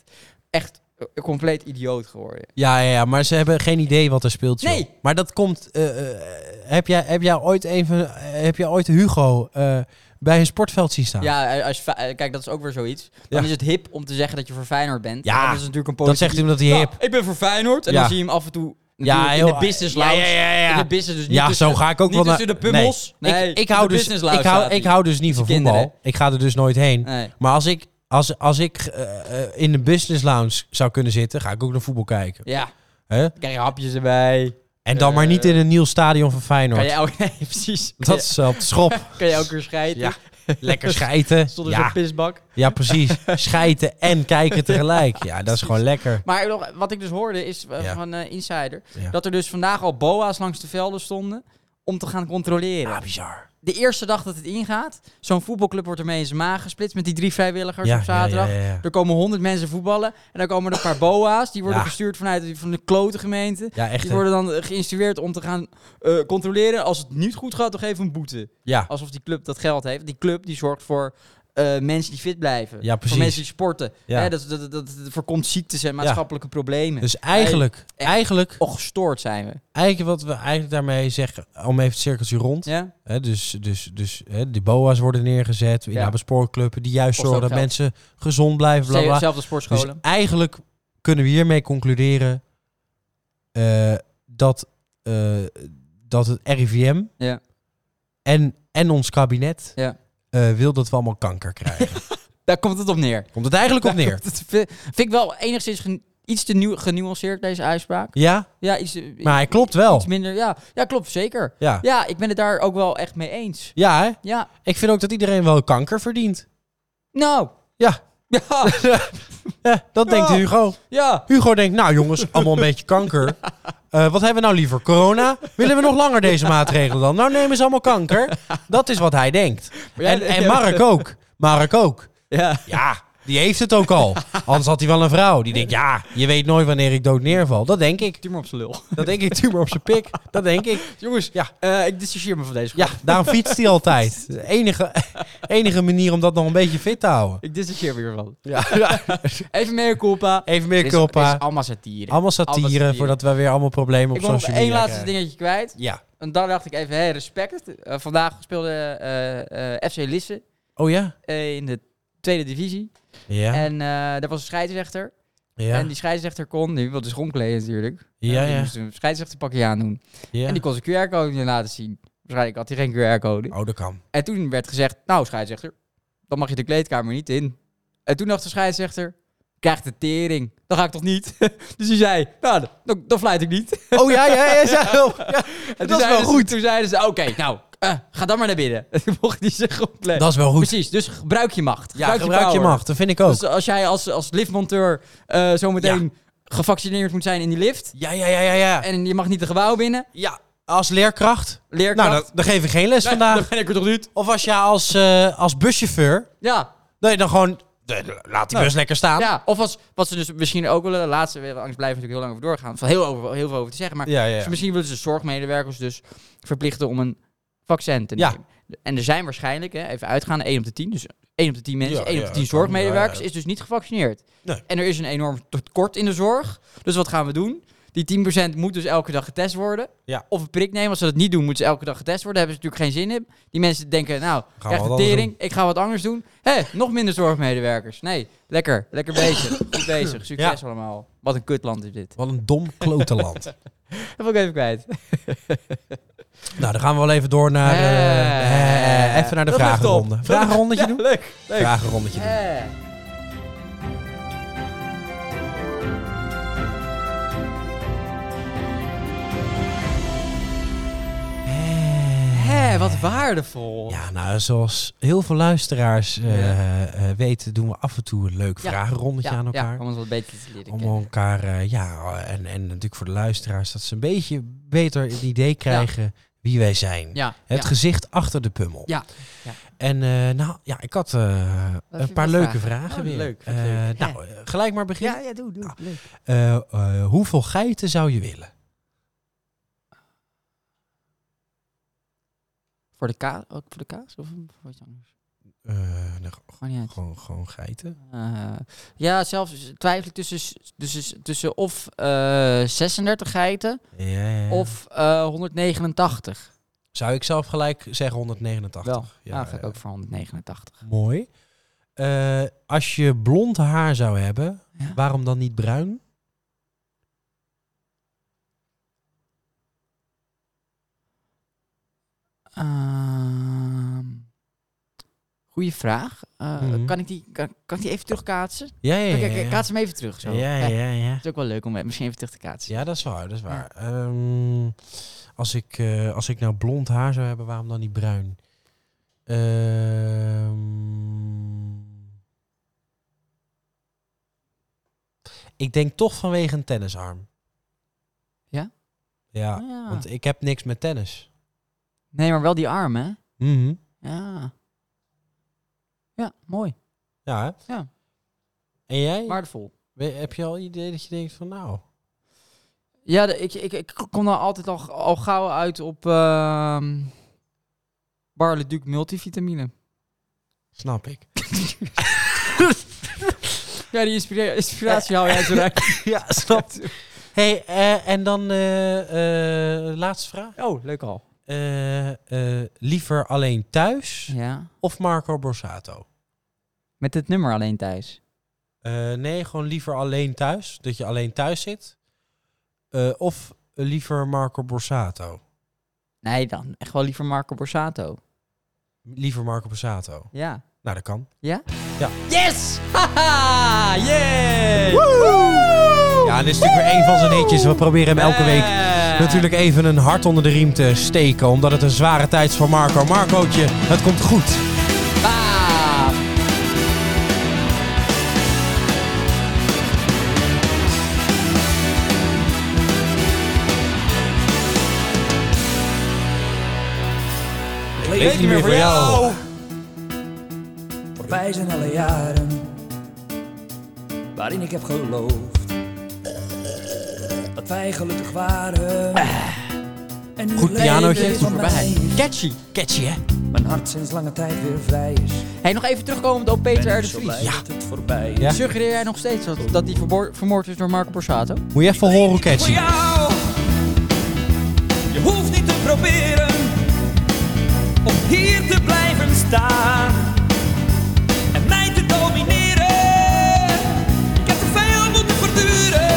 echt eh, compleet idioot geworden.
Ja, ja, ja, maar ze hebben geen idee wat er speelt. joh.
Nee.
Maar dat komt. eh, eh, heb, jij, heb jij ooit even. Heb jij ooit Hugo eh, bij een sportveld zien staan?
Ja, eh, als, fa- eh, kijk, dat is ook weer zoiets. Dan
Ja.
is het hip om te zeggen dat je voor Feyenoord bent.
Ja,
dat is natuurlijk een
dat
politiek...
zegt hij omdat hij hip.
Ja, ik ben voor Feyenoord. En
Ja.
dan zie je hem af en toe
Ja,
natuurlijk in
heel-
de business lounge.
Ja, ja, ja, ja.
In de business dus niet
Ja,
tussen,
zo ga ik ook
niet
wel naar.
tussen de pummels.
Nee.
Nee,
ik, ik,
in de
hou dus,
business lounge
ik, hou,
staat
ik
hij.
hou dus niet van
Met zijn
voetbal.
kinderen.
Ik ga er dus nooit heen.
Nee.
Maar als ik, als, als ik eh, eh, in de business lounge zou kunnen zitten, ga ik ook naar voetbal kijken.
Ja,
Hè?
dan krijg je hapjes erbij.
En dan maar niet in een nieuw stadion van
Eh. Kan
Feyenoord.
je elke... Nee, precies. Kan
Dat is op de schop.
je- Kan je elke keer scheiden.
Ja. Lekker schijten.
Stond er
Ja.
zo'n pisbak.
Ja, precies. Schijten en kijken tegelijk. Ja, dat is gewoon lekker.
Maar nog, wat ik dus hoorde is eh,
Ja.
van eh, Insider...
Ja.
dat er dus vandaag al boa's langs de velden stonden... om te gaan controleren.
Ja, bizar.
De eerste dag dat het ingaat... zo'n voetbalclub wordt ermee in zijn maag gesplitst... met die drie vrijwilligers
Ja,
op zaterdag.
Ja, ja, ja, ja.
Er komen honderd mensen voetballen... en dan komen er een paar boa's... die worden
Ja.
gestuurd vanuit van de klote gemeente...
Ja, echt.
Die
hè.
worden dan eh, geïnstrueerd om te gaan eh, controleren. Als het niet goed gaat, dan geven we een boete.
Ja,
Alsof die club dat geld heeft. Die club die zorgt voor eh, mensen die fit blijven.
ja,
Voor mensen
precies.
die sporten.
Ja.
Hè, dat, dat, dat, dat voorkomt ziektes en maatschappelijke problemen.
Dus eigenlijk,
echt.
eigenlijk,
Och, gestoord zijn we.
eigenlijk wat we eigenlijk daarmee zeggen, om even het cirkeltje rond.
Ja?
Hè, dus dus, dus hè, de boa's worden neergezet, in
Ja.
ja. sportclubs die juist
Kost
zorgen dat
ook geld.
mensen gezond blijven, bla bla.
Zelfde
Dus
sportscholen.
eigenlijk kunnen we hiermee concluderen eh, dat, eh, dat het RIVM
Ja.
en, en ons kabinet
Ja.
eh, wil dat we allemaal kanker krijgen.
Daar komt het op neer.
Komt het eigenlijk op neer?
Dat vind vind ik wel enigszins genu- iets te nieuw, genuanceerd, deze uitspraak.
Ja,
Ja, iets, eh,
maar hij klopt wel.
iets minder. Ja. ja, klopt, zeker.
Ja.
Ja, ik ben het daar ook wel echt mee eens.
Ja, hè?
Ja,
ik vind ook dat iedereen wel kanker verdient.
nou.
Ja.
Ja,
Ja, dat
Ja.
denkt Hugo.
ja.
Hugo denkt, nou jongens, allemaal een beetje kanker. Eh, wat hebben we nou liever? Corona? Willen we nog langer deze maatregelen dan? Nou nemen ze allemaal kanker. Dat is wat hij denkt.
jij-
En, en Mark ook. Mark ook.
Ja.
Ja, die heeft het ook al. Anders had hij wel een vrouw. Die denkt, ja, je weet nooit wanneer ik dood neerval. Dat denk ik.
Tumor op zijn lul.
Dat denk ik, tumor op zijn pik. Dat denk ik.
Jongens,
Ja.
eh, ik dissocieer me van deze
Ja, daarom fietst hij altijd. De enige, enige manier om dat nog een beetje fit te houden.
Ik dissocieer me hiervan.
Ja.
Even meer culpa.
Even
Dit
meer
is-
culpa.
dit is allemaal satire.
Allemaal
Allemaal
satire
satire.
voordat we weer allemaal problemen op
ik wil nog
social media
één laatste
krijgen.
dingetje kwijt.
Ja.
En dan dacht ik even, hé, respect. Eh, vandaag speelde eh, eh, FC Lisse
Oh ja?
eh, in de tweede divisie.
Ja.
En eh daar was een scheidsrechter.
Ja.
En die scheidsrechter kon, die wilde schoonkleden natuurlijk. Eh,
Ja,
Die
ja.
moest een scheidsrechterpakje aandoen.
ja.
En die kon zijn QR-code niet laten zien. Waarschijnlijk had hij geen QR-code.
Oh, dat kan.
En toen werd gezegd, nou scheidsrechter, dan mag je de kleedkamer niet in. En toen dacht de scheidsrechter, krijgt de tering. Dan ga ik toch niet? dus die zei, nou, dan- dan, dan fluit ik niet.
Oh ja, ja, ja. ja. ja.
En
Dat is
zeiden
wel
ze-
goed.
Toen zeiden ze, oké, nou, eh, ga dan maar naar binnen. En toen mocht hij zich opkleden.
Dat is wel goed.
Precies, dus gebruik je macht.
Ja, gebruik je
power.
macht. Oh. Dat vind ik ook.
Dus als jij als, als liftmonteur eh zometeen gevaccineerd moet zijn in die lift...
Ja, ja, ja, ja, ja.
en je mag niet de gebouw binnen,
Ja, als leerkracht.
leerkracht...
Nou, dan, dan geef ik geen les
Dan
vandaag.
ben ik er toch niet?
Of als je als, eh, als buschauffeur...
Ja,
Nee, dan gewoon... eh, Laat die bus lekker staan.
Nou. Ja, of als, wat ze dus misschien ook willen, de laatste, angst blijven natuurlijk heel lang over doorgaan, van heel, over, heel veel over te zeggen, maar
ja,
ze- Dus misschien willen ze zorgmedewerkers dus verplichten om een vaccin te
Ja.
nemen. En er zijn waarschijnlijk, hè, even uitgaan, 1 op de 10, dus 1 op de 10 mensen,
Ja,
1
ja,
op de
dat
10 zorgmedewerkers
kan, ja,
is dus niet gevaccineerd.
Nee.
En er is een enorm tekort in de zorg, dus wat gaan we doen? Die 10% moet dus elke dag getest worden.
Ja.
Of een prik nemen. Als ze dat niet doen, moeten ze elke dag getest worden. Daar hebben ze natuurlijk geen zin in. Die mensen denken, nou,
we
krijg de
wat anders
tering. Ik ga wat anders doen. Hé, nog minder zorgmedewerkers. Nee, lekker. Lekker bezig. Goed bezig. Succes allemaal. Wat een kutland is dit.
Wat een dom klotenland.
Dat wil ik even kwijt.
nou, dan gaan we wel even door naar... eh,
Eh,
eh, even naar de
dat lucht op.
vragenronde. Vragenrondetje
Ja,
doen?
leuk. leuk.
Vragenrondetje doen.
Eh. Hé, wat waardevol.
Ja, nou, zoals heel veel luisteraars eh, eh, weten, doen we af en toe een leuk
Ja.
vragenrondetje aan elkaar.
om ons wat beter te leren
om
kennen.
elkaar, eh, ja, en, en natuurlijk voor de luisteraars, dat ze een beetje beter een idee krijgen wie wij zijn.
Ja,
Het
ja.
gezicht achter de pummel.
Ja, ja.
En eh, nou, ja, ik had eh,
vind
een
je
paar
wat
leuke
vragen?
vragen
Oh,
weer.
leuk, wat
Eh,
leuk.
nou, eh, gelijk maar beginnen.
ja, doe, doe. Leuk.
Eh, eh, hoeveel geiten zou je willen?
Voor de kaas? Ook voor de kaas? Of voor iets anders?
Eh, nou,
Gewoon niet uit.
gewoon, gewoon geiten.
Eh, ja, zelfs twijfel ik tussen, s- tussen, tussen of eh 36 geiten
Ja, ja, ja.
of eh 189.
Zou ik zelf gelijk zeggen 189?
Wel, ja, dan Nou, ga ik
ja.
ook voor 189.
Mooi. Eh, als je blond haar zou hebben,
Ja.
waarom dan niet bruin?
Ehm goeie vraag. Eh,
Mhm.
kan, ik die, kan, kan ik die even terugkaatsen?
Ja, ja,
Kijk,
ja.
kijk,
ja.
kijk, Kaats hem even terug. Zo.
Ja,
Kijk,
ja, ja.
Het is ook wel leuk om misschien even terug te kaatsen.
Ja, dat is waar, dat is waar. Ehm, als, ik, eh, als ik nou blond haar zou hebben, waarom dan niet bruin? Ehm, ik denk toch vanwege een tennisarm.
Ja?
Ja,
Ah, ja.
want ik heb niks met tennis.
Nee, maar wel die arm, hè?
Mhm.
Ja. Ja, mooi.
Ja, hè?
Ja.
En jij?
Waardevol.
We- Heb je al een idee dat je denkt van nou...
Ja, de- ik, ik, ik kom dan altijd al, al gauw uit op ehm Barle Duc multivitamine.
Snap ik.
Ja, die inspira- inspiratie hou jij zo uit.
ja, snap. hey, eh, en dan eh, eh, laatste vraag.
Oh, leuk al.
Eh, eh, liever alleen thuis
Ja.
of Marco Borsato?
Met het nummer alleen thuis.
Eh, nee, gewoon liever alleen thuis. Dat je alleen thuis zit. Eh, of liever Marco Borsato.
Nee, dan echt wel liever Marco Borsato.
Liever Marco Borsato.
Ja.
Nou, dat kan.
Yes! Haha! Yay!
Ja, en dit is natuurlijk weer een van zijn hitjes. We proberen hem elke week
Eh.
natuurlijk even een hart onder de riem te steken. Omdat het een zware tijd is voor Marco. Marcootje, het komt goed.
Bah!
Ik leef niet meer voor jou.
Voorbij zijn alle jaren waarin ik heb geloofd dat wij gelukkig waren. En nu
Goed
leven
pianootje,
van
goed
voorbij.
mij.
Catchy. Catchy, hè?
Mijn hart sinds lange tijd weer vrij is.
Hey, nog even terugkomend op Peter
Ben
R.
ik
de
zo
Vries.
blij dat het voorbij
Ja.
is.
Suggereer jij nog steeds dat, dat die verboor- vermoord is door Marco Borsato?
Moet je even horen hoe
Voor
catchy.
jou, je hoeft niet te proberen om hier te blijven staan en mij te domineren. Ik heb te veel moeten verduren.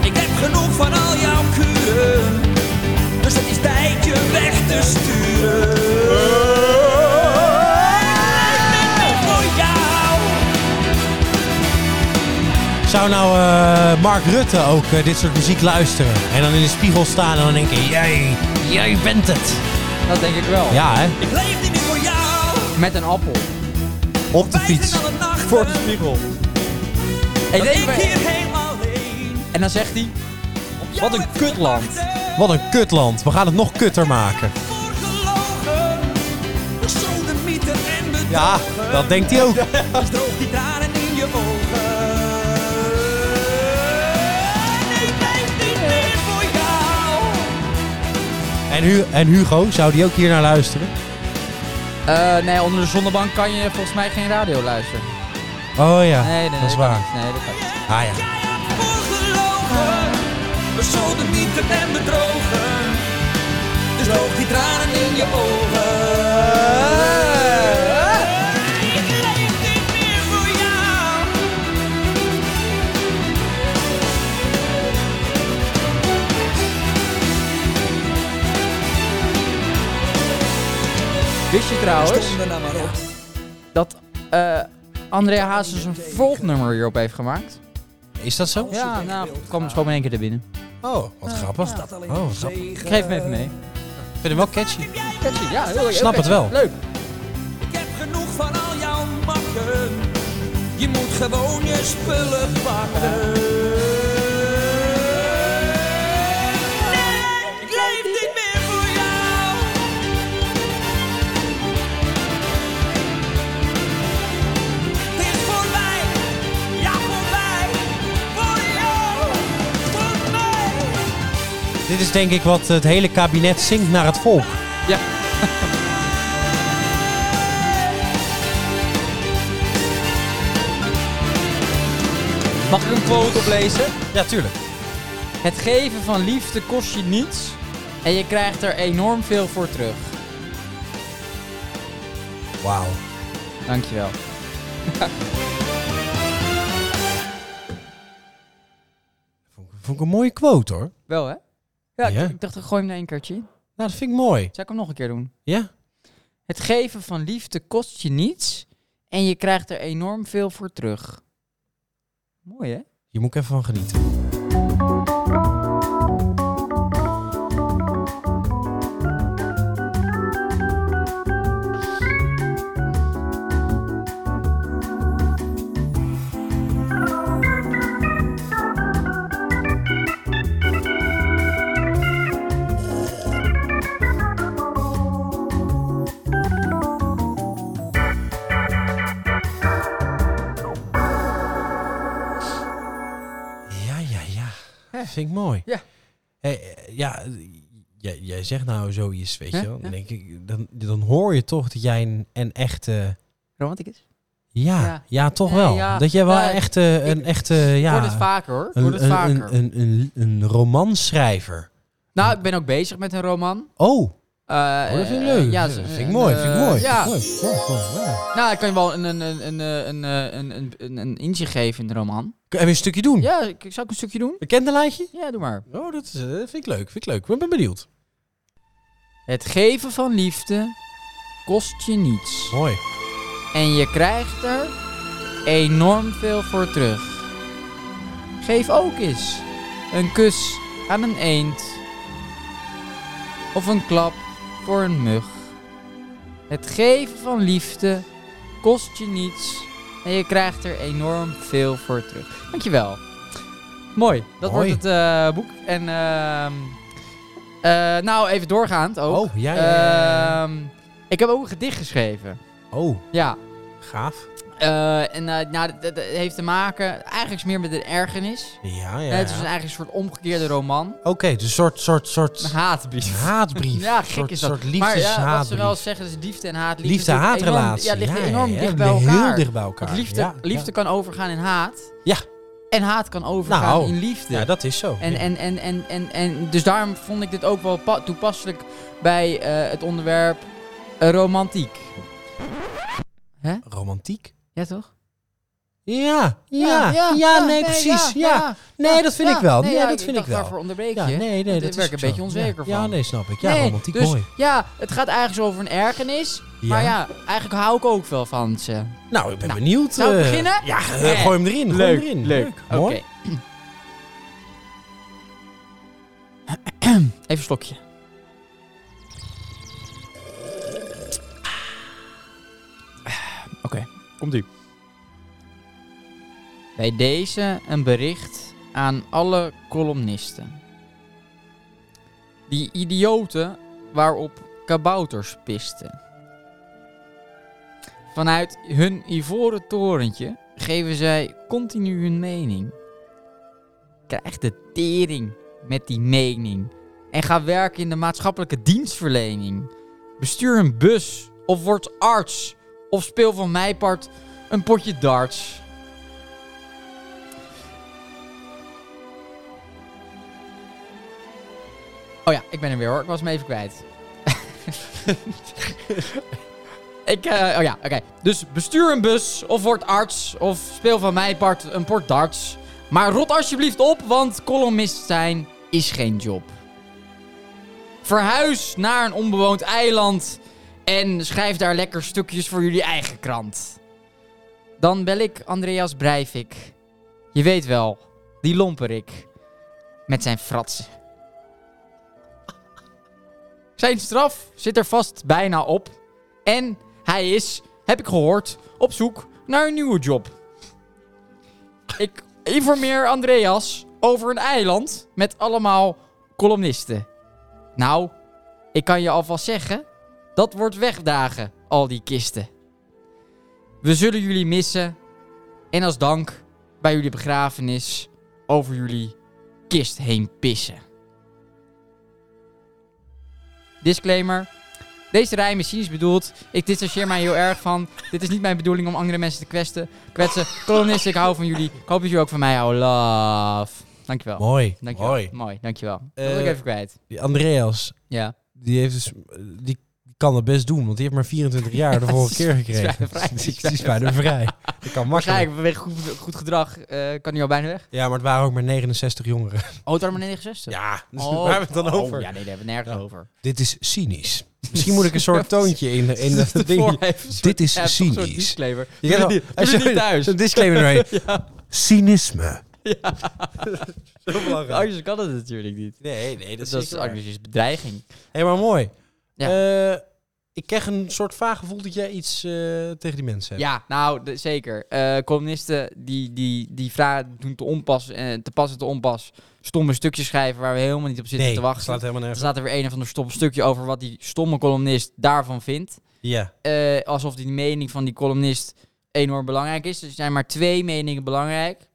Ik heb genoeg van al jouw kuren, dus het is tijd je weg te sturen.
Oh,
Ik ben nog voor jou.
Zou nou eh, Mark Rutte ook eh, dit soort muziek luisteren? En dan in de spiegel staan en dan denken, jij, jij bent het.
Dat denk ik wel.
Ja, hè?
Ik leef niet meer voor jou.
Met een appel.
Op de
Wij
fiets.
zijn alle nachten.
spiegel.
Dat
denk
ik hier helemaal alleen.
En dan zegt hij...
op
Wat
jou
een
heb
kutland.
gewacht.
Wat een kutland. We gaan het nog kutter maken.
Voor gelogen, besodemieten en bedrogen.
Ja, dat denkt hij ook.
Dus droog die tranen in je ogen. Ik leef niet meer voor jou.
En, Hu en Hugo, zou die ook hier naar luisteren?
eh, nee, onder de zonnebank kan je volgens mij geen radio luisteren.
Oh ja,
Nee, nee, nee
dat is
kan
waar.
niet. Nee, dat kan niet.
Ah ja.
Voor gelogen, besodemieten en bedrogen. Dus droog die tranen in je ogen. Ik leef niet meer voor jou.
Wist je trouwens
Kom er nou maar op.
dat eh André Hazes een volgnummer hierop heeft gemaakt?
Is dat zo?
Ja, nou, kwam het gewoon in één keer er binnen.
Oh, wat grappig. Oh, wat grappig. Ik
Ik geef hem even mee.
vind hem wel catchy.
Catchy, ja. Heel, heel
Snap het wel.
catchy. Leuk.
Ik heb genoeg van al jouw makken. Je moet gewoon je spullen pakken. Nee, ik leef niet meer voor jou. Het is voorbij, ja voorbij. Voor jou, voor mij.
Dit is denk ik wat het hele kabinet zingt naar het volk.
Ja. Mag ik een quote oplezen?
Ja, tuurlijk.
Het geven van liefde kost je niets en je krijgt er enorm veel voor terug.
Wauw.
Dankjewel.
Vond ik een mooie quote hoor.
Wel hè? Ja, ik-
Ja.
Ik, dacht ik gooi hem er één keertje in.
Nou, dat vind ik mooi.
Zou ik hem nog een keer doen?
Ja?
Het geven van liefde kost je niets en je krijgt er enorm veel voor terug. Mooi hè?
Je moet ik even van genieten. Ja, ja, ja. Dat vind ik mooi.
Ja.
Hey, eh, ja, eh, jij, jij zegt nou zoiets, weet
Ja,
je wel. Dan,
ja.
denk ik, dan, dan hoor je toch dat jij een, een echte...
Romanticus.
Ja, ja,
Ja.
toch
Nee,
wel.
ja.
Dat jij wel
Nou,
echt eh, een
ik-
echte... Ja,
Wordt het vaker hoor.
een,
Wordt het
een,
vaker.
een, een, een, een romanschrijver.
nou, ik ben ook bezig met een roman.
Oh,
Eh,
oh, dat vind ik
eh,
leuk.
ja,
dat
ze-
vind ik
een,
mooi, vind ik
eh,
mooi.
Ja,
Vind ik mooi. Mooi, mooi, mooi.
nou, ik kan je wel een, een, een, een, eh, een, eh, een, een, een, een inzicht geven in de roman.
Kun- Even een stukje doen.
Ja, ik, zou ik een stukje doen?
Een kenderlijntje?
Ja, doe maar.
Oh, dat is, eh, vind ik leuk, vind ik leuk. Ik ben benieuwd.
Het geven van liefde kost je niets.
Mooi.
En je krijgt er enorm veel voor terug. Geef ook eens een kus aan een eend. Of een klap voor een mug. Het geven van liefde kost je niets. En je krijgt er enorm veel voor terug. Dankjewel. Mooi. Dat
Mooi.
wordt het eh, boek. En ehm, eh, nou, even doorgaand ook.
Oh, ja, ja, ja,
Ehm, ik heb ook een gedicht geschreven.
Oh,
Ja,
gaaf.
eh, en eh, nou, dat, dat heeft te maken eigenlijk is meer met een ergernis.
Ja, ja.
Eh, het is
ja.
dus eigenlijk een soort omgekeerde roman.
Oké, dus soort, soort,
Een
soort
haatbrief.
haatbrief.
Ja, gek
soort,
is dat.
soort
maar
liefdeshaatbrief.
ja, wat ze wel zeggen is liefde en haat. Liefde, natuurlijk enorm-
Liefde-haatrelatie.
Ja, ligt
ja,
enorm
ja,
dicht bij
heel
elkaar.
dicht bij elkaar.
Want liefde,
ja,
liefde kan overgaan in haat.
Ja.
En haat kan overgaan
Nou,
in liefde.
Ja. ja, dat is zo.
En,
Ja.
en, en, en, en, en dus daarom vond ik dit ook wel pa- toepasselijk bij eh, het onderwerp eh, romantiek.
Romantiek?
Ja, toch?
Ja, ja, ja, nee, precies. Ja, nee, dat vind ik wel.
Nee,
ja,
ja,
dat vind ik
dacht,
wel.
Daarvoor onderbreek je.
Ja, nee, nee,
Want
dat
ik
is
werk
ook
een beetje
zo.
onzeker
ja.
van.
Ja, nee, snap ik. Ja,
Nee,
romantiek,
dus,
mooi.
Ja, het gaat ergens over een ergernis.
Ja.
Maar ja, eigenlijk hou ik ook wel van ze.
Nou, ik ben
Nou,
benieuwd.
zou ik
eh,
beginnen?
Ja, eh,
Nee.
gooi hem erin. Gooi
Leuk,
hem erin.
leuk. Oké.
Mooi.
Even een slokje. Oké, komt u. Bij deze een bericht aan alle columnisten. Die idioten waarop kabouters pisten. Vanuit hun ivoren torentje geven zij continu hun mening. Krijg de tering met die mening en ga werken in de maatschappelijke dienstverlening. Bestuur een bus of word arts of speel van mijn part een potje darts. Oh ja, ik ben er weer hoor. Ik was me even kwijt. ik, eh, oh ja, oké. Dus bestuur een bus of word arts of speel van mij part een port darts. Maar rot alsjeblieft op, want columnist zijn is geen job. Verhuis naar een onbewoond eiland en schrijf daar lekker stukjes voor jullie eigen krant. Dan bel ik Andreas Breivik. Je weet wel, die lomperik. Met zijn fratsen. Zijn straf zit er vast bijna op. En hij is, heb ik gehoord, op zoek naar een nieuwe job. Ik informeer Andreas over een eiland met allemaal columnisten. Nou, ik kan je alvast zeggen, dat wordt wegdagen, al die kisten. We zullen jullie missen en als dank bij jullie begrafenis over jullie kist heen pissen. Disclaimer. Deze rijm is cynisch bedoeld. Ik distancieer mij heel erg van. Dit is niet mijn bedoeling om andere mensen te kwesten, kwetsen. Kolonisten, ik hou van jullie. Ik hoop dat jullie ook van mij houden. Love. Dankjewel.
Mooi.
Dankjewel.
Mooi.
Mooi, dankjewel. Dat wil
Eh,
ik even kwijt.
Die Andreas,
Ja.
die, heeft dus, die kan het best doen, want die heeft maar 24 jaar de
Ja,
vorige
die is-
keer
die is
gekregen.
bijna vrij.
Die is- die is bijna vrij. Dat kan makkelijk.
Waarschijnlijk vanwege goed, goed gedrag eh, kan hij al bijna weg.
Ja, maar het waren ook maar 69 jongeren.
Oh, daar maar 69.
Ja, dus
Oh.
waar hebben we het dan
Oh,
over?
ja, nee, daar hebben we het nergens
Ja.
over.
Dit is cynisch. Misschien moet ik een soort toontje in, de- in dat ding. Dit is cynisch.
disclaimer.
Je kent wel- als je-
niet thuis.
Zo'n disclaimer erheen. Cynisme. Heel belangrijk.
Anders kan het natuurlijk niet.
Nee, nee,
Dat is, anders is bedreiging.
Helemaal mooi.
Ja.
Eh, ik krijg een soort vaag gevoel dat jij iets eh, tegen die mensen hebt.
Ja, nou, de- zeker. Eh, communisten die, die, die vragen doen te onpas en te pas en te onpas stomme stukjes schrijven waar we helemaal niet op zitten
nee,
te
dat
wachten.
slaat helemaal
Er
nergens.
staat er weer een of ander stom stukje over wat die stomme columnist daarvan vindt.
op. Ja.
Eh, alsof die mening van die columnist enorm belangrijk is. Dus er zijn maar twee meningen belangrijk.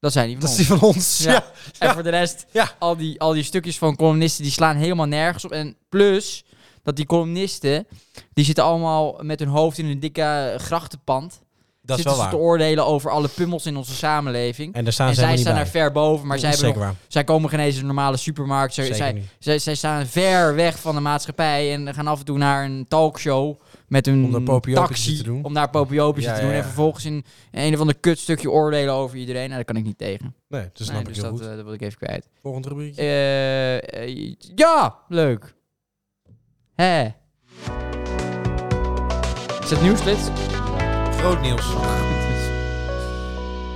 Dat zijn die van
Dat is
ons.
die van ons.
Ja.
Ja.
En voor de rest,
Ja.
al, die, al die stukjes van columnisten die slaan helemaal nergens op. En plus dat die columnisten, die zitten allemaal met hun hoofd in een dikke eh, grachtenpand.
Dat is
zitten
wel
ze
waar.
te oordelen over alle pummels in onze samenleving.
En daar staan
en
ze
zij
helemaal
staan
niet
daar
bij.
ver boven, maar zij,
Dat is
hebben nog-
zeker waar.
zij komen geen eens in een normale supermarkt. Zij,
Zeker
zij,
niet.
zij, zij staan ver weg van de maatschappij en gaan af en toe naar een talkshow met hun
Om daar popiopietjes
taxi
te doen.
om daar popiopisch
Ja,
te doen.
ja,
En
ja.
vervolgens in een of ander kutstukje oordelen over iedereen. Nou, daar kan ik niet tegen.
Nee, dat snap
Nee,
ik
dus
heel
dat,
goed.
eh, dat wil ik even kwijt.
Volgend rubriekje.
Eh, eh, ja, leuk. Hé. Is het nieuwslid?
Groot nieuws.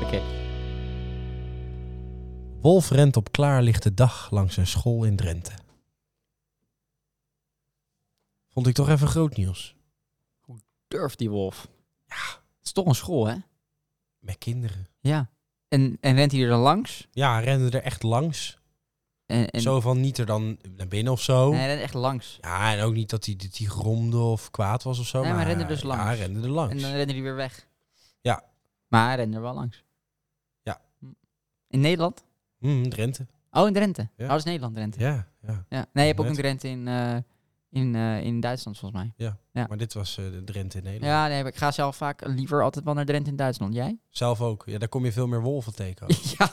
Oké.
Wolf rent op klaarlichte dag langs een school in Drenthe. Vond ik toch even groot nieuws.
Durf die wolf. Ja. Het is toch een school, hè?
Met kinderen.
Ja. En, en rent hij er dan langs?
Ja, renden er echt langs.
En, en,
Zo van niet er dan naar binnen of zo.
Nee, hij rent echt langs.
Ja, en ook niet dat hij, dat hij gromde of kwaad was of zo.
Nee, maar hij rende dus
Ja, hij
langs.
rende er langs.
En dan rent hij weer weg.
Ja.
Maar hij rent er wel langs. Hm.
Ja.
In Nederland?
Mm, Drenthe.
Oh, in Drenthe. Oh,
Ja.
dat is Nederland, Drenthe.
Ja, ja.
Ja. Nee, je hebt ook een
Net.
Drenthe in, eh, in, eh, in Duitsland, volgens mij.
Maar dit was eh, de Drenthe in Nederland.
Ja, nee, maar ik ga zelf vaak liever altijd wel naar Drenthe in Duitsland. Jij?
Zelf ook. Ja, daar kom je veel meer wolven tegen. ook.
Ja.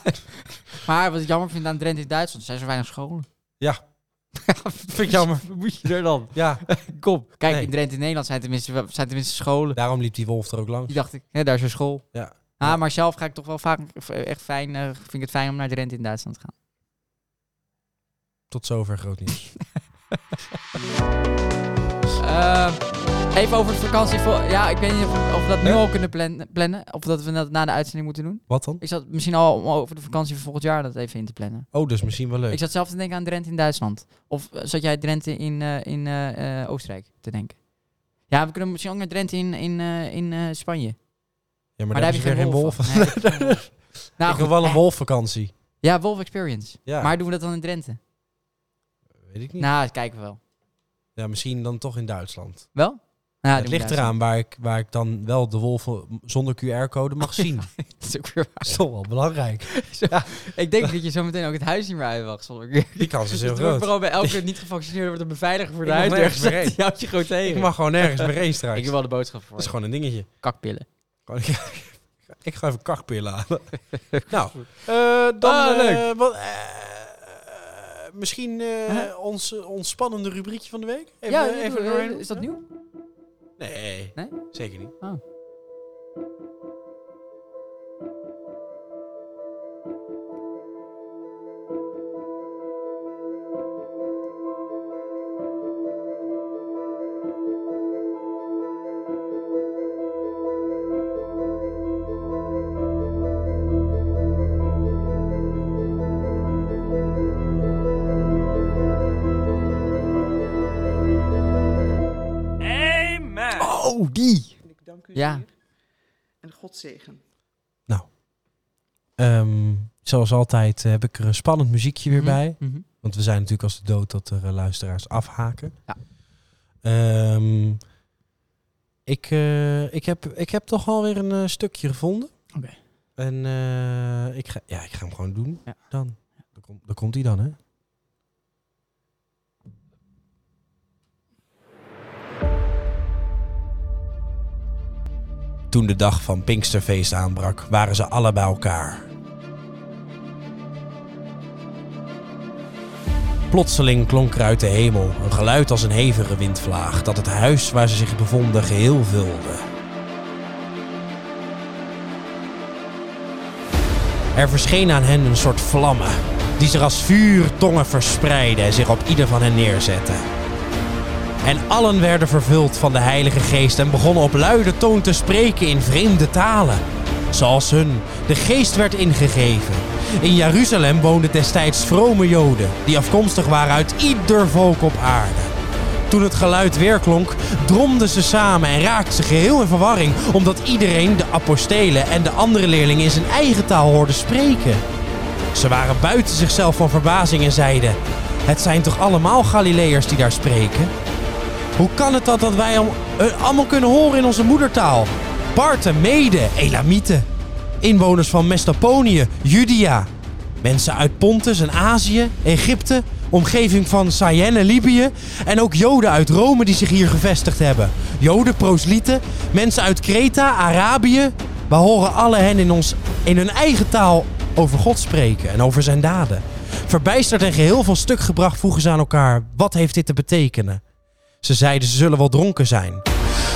Maar wat ik jammer vind aan Drenthe in Duitsland, er zijn zo weinig scholen.
Ja.
vind ik jammer. Moet je er dan?
ja,
Kom. Kijk,
Nee.
in Drenthe in Nederland zijn tenminste, wel- zijn tenminste scholen.
daarom liep die wolf er ook langs.
Die dacht ik, hè, daar is een school.
Ja.
Ah,
Ja.
maar zelf ga ik toch wel vaak v- echt fijn, eh, vind ik het fijn om naar Drenthe in Duitsland te gaan.
Tot zover groot nieuws.
Eh, even over het vakantie. Ja, ik weet niet of, we- of we dat nu al kunnen plan- plannen. Of dat we dat na de uitzending moeten doen.
Wat dan?
Ik zat misschien al om over de vakantie van volgend jaar dat even in te plannen.
Oh, dus misschien wel leuk.
Ik zat zelf te denken aan Drenthe in Duitsland. Of eh, zat jij Drenthe in, eh, in eh, eh, Oostenrijk te denken? Ja, we kunnen misschien ook naar Drenthe in, in, eh, in eh, Spanje.
Ja,
Maar, daar heb je geen, wolf.
wolven.
Nee, daar heb je geen wolf. nou,
ik wil
goed.
wel een
Eh,
wolfvakantie.
Ja, Wolf Experience.
Ja,
Maar doen we dat dan in Drenthe?
weet ik niet.
Nou, dat kijken we wel.
Ja, misschien dan toch in Duitsland.
Wel? Nou, doen
het
we
ligt
Duitsland.
eraan waar ik, waar ik dan wel de wolven zonder QR-code mag zien.
Dat is ook weer waar.
Dat is toch wel belangrijk.
Ik denk dat je zo meteen ook het huis niet meer uitwacht. zonder keer.
Die kans is
Dus
heel
het wordt
groot.
vooral bij elke niet gevaccineerde wordt een beveiliger voor de
Ik mag
huisdeur
nergens
gezet.
meer heen.
Die houdt je gewoon tegen.
Ik mag gewoon nergens meer heen straks.
Ik heb wel de boodschap voor
Dat is
je.
gewoon een dingetje.
Kakpillen.
Gewoon- ik ga even kakpillen halen. nou, eh, dan...
Ah,
eh,
leuk.
wat, eh, misschien eh, ons eh, ontspannende rubriekje van de week? Even,
ja,
even
eh,
doorheen.
is dat nieuw?
Nee,
Nee?
zeker niet.
Oh. Oh, die!
En ik dank u
Ja.
zeer. En God zegen.
Ehm, zoals altijd eh, heb ik er een spannend muziekje weer bij.
Mhm.
Want we zijn natuurlijk als de dood dat er eh, luisteraars afhaken.
Ja.
Ehm, ik, eh, ik, heb, ik heb toch alweer een eh, stukje gevonden.
Oké.
En eh, ik, ga, ja, ik ga hem gewoon doen
Ja.
dan. Dan, komt dan komt hij dan, hè? Toen de dag van Pinksterfeest aanbrak, waren ze alle bij elkaar. Plotseling klonk er uit de hemel een geluid als een hevige windvlaag dat het huis waar ze zich bevonden geheel vulde. Er verscheen aan hen een soort vlammen die zich als vuurtongen verspreidden en zich op ieder van hen neerzetten. En allen werden vervuld van de Heilige Geest en begonnen op luide toon te spreken in vreemde talen. Zoals hun de geest werd ingegeven. In Jeruzalem woonden destijds vrome Joden die afkomstig waren uit ieder volk op aarde. Toen het geluid weerklonk, dromden ze samen en raakten ze geheel in verwarring, omdat iedereen de apostelen en de andere leerlingen in zijn eigen taal hoorde spreken. Ze waren buiten zichzelf van verbazing en zeiden: Het zijn toch allemaal Galileërs die daar spreken? Hoe kan het dat, dat wij hem eh, allemaal kunnen horen in onze moedertaal? Parten, Mede, Elamieten. Inwoners van Mestaponië, Judea. Mensen uit Pontus en Azië, Egypte, omgeving van Syene, Libië. En ook Joden uit Rome die zich hier gevestigd hebben. Joden, proslieten, mensen uit Kreta, Arabië. We horen alle hen in, ons, in hun eigen taal over God spreken en over zijn daden. Verbijsterd en geheel van stuk gebracht vroegen ze aan elkaar: wat heeft dit te betekenen? Ze zeiden ze zullen wel dronken zijn.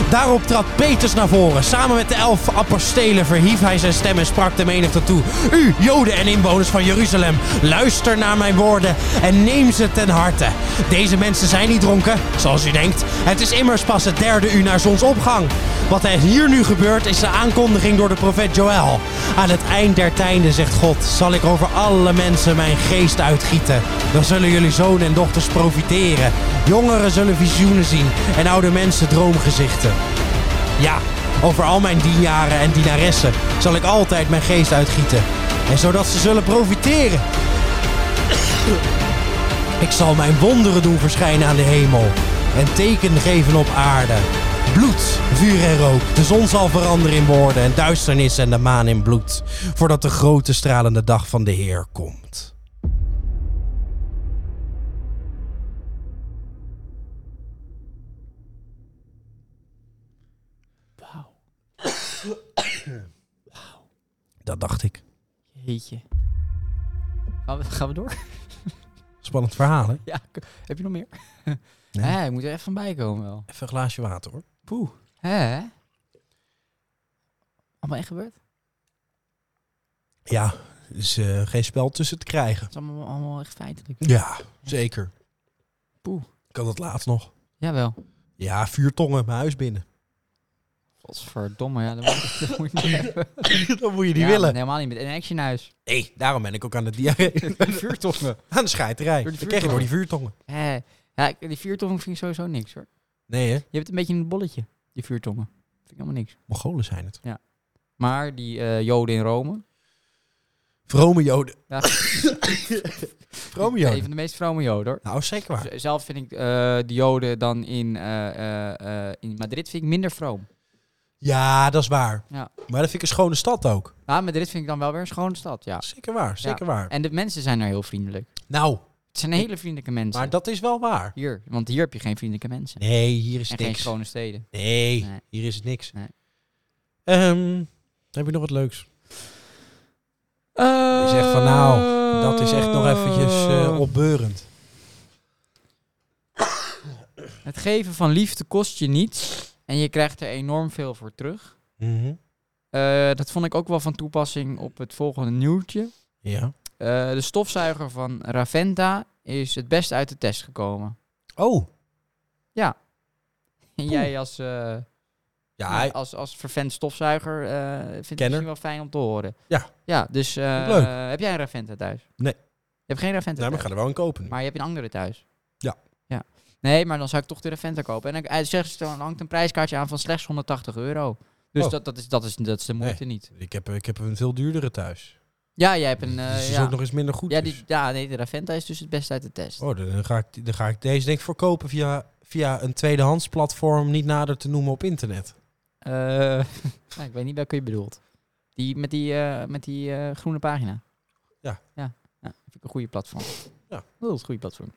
Daarop trad Peters naar voren. Samen met de elf apostelen verhief hij zijn stem en sprak de menigte toe. U, Joden en inwoners van Jeruzalem, luister naar mijn woorden en neem ze ten harte. Deze mensen zijn niet dronken, zoals u denkt. Het is immers pas het derde uur naar zonsopgang. Wat er hier nu gebeurt is de aankondiging door de profeet Joël. Aan het eind der tijden, zegt God, zal ik over alle mensen mijn geest uitgieten. Dan zullen jullie zonen en dochters profiteren. Jongeren zullen visioenen zien en oude mensen droomgezichten. Ja, over al mijn dienaren en dienaressen zal ik altijd mijn geest uitgieten. En zodat ze zullen profiteren. Ik zal mijn wonderen doen verschijnen aan de hemel en tekenen geven op aarde. Bloed, vuur en rook. De zon zal veranderen in woorden en duisternis en de maan in bloed. Voordat de grote stralende dag van de Heer komt. Dat dacht ik.
Jeetje. Gaan we, gaan we door?
Spannend verhaal, hè?
Ja, k- heb je nog meer? Hé, ik moet er even van bij komen wel.
Even een glaasje water, hoor.
Poeh. Hè? Allemaal echt gebeurd? Het
Ja, is eh, geen spel tussen te krijgen.
is allemaal, allemaal echt feitelijk.
Ja, zeker.
Poeh.
Kan dat laatst nog.
Jawel.
Ja, vuurtongen, mijn huis binnen.
Godverdomme, ja, dat moet, dat moet je niet hebben.
dat moet je niet
Ja,
willen.
Helemaal niet met een actionhuis.
Nee, daarom ben ik ook aan de diarree.
Vuurtoffen.
aan de scheiterij.
Door
Dan
die
krijg je door die vuurtongen.
Hé. Ja, ik- die vuurtongen vind ik sowieso niks hoor.
Nee, hè?
Je hebt een beetje een bolletje, die vuurtongen. Vind ik helemaal niks.
Mongolen zijn het.
Maar die eh, Joden in Rome.
Vrome Joden.
Ja.
Vrome
Een
Joden.
van de meest vrome Joden hoor.
Nou, zeker waar.
Z- Zelf vind ik eh, de Joden dan in, eh, eh, eh, in Madrid vind ik minder vroom.
Ja, dat is waar.
Ja.
Maar dat vind ik een schone stad ook.
Nou, Madrid vind ik dan wel weer een schone stad, ja.
Zeker waar, zeker waar.
En de mensen zijn daar heel vriendelijk.
Nou,
Het zijn hele vriendelijke mensen.
maar dat is wel waar.
Hier, want hier heb je geen vriendelijke mensen.
Nee, hier is
en geen
niks.
schone steden.
Nee,
Nee.
hier is het niks.
Nee.
Ehm, heb je nog wat leuks? zegt van, nou, dat is echt nog eventjes
Oh.
eh, opbeurend.
Het geven van liefde kost je niets en je krijgt er enorm veel voor terug.
Mhm.
Eh, dat vond ik ook wel van toepassing op het volgende nieuwtje.
Ja.
Eh, de stofzuiger van Raventa is het best uit de test gekomen.
Oh.
En jij als, eh,
Ja, hij-
als, als vervent stofzuiger eh vindt
Kenner.
het misschien wel fijn om te horen.
Ja.
Ja, dus eh,
Leuk.
heb jij een Raventa thuis?
Nee.
Je hebt geen Raventa
nou, we
thuis?
gaan er wel een kopen. nu.
Maar je hebt een andere thuis.
Ja.
ja. Nee, maar dan zou ik toch de Raventa kopen. En dan eh, zeggen ze, dan hangt een prijskaartje aan van slechts 180 euro. Dus
Oh.
dat, dat, is, dat, is, dat is de moeite niet.
Ik, heb, eh, ik heb een veel duurdere thuis.
Ja, jij hebt een... eh,
dus die is
ja.
ook nog eens minder goed.
ja,
dus.
die, ja, nee, de Raventa is dus het beste uit de test.
Oh, dan ga ik, dan ga ik deze denk ik verkopen via, via een tweedehands platform, niet nader te noemen op internet.
Eh, nou, ik weet niet welke je bedoelt. Die met die, eh, met die eh, groene pagina.
Ja.
Ja, ja vind ik een goede platform.
Ja.
Dat is een goede platform.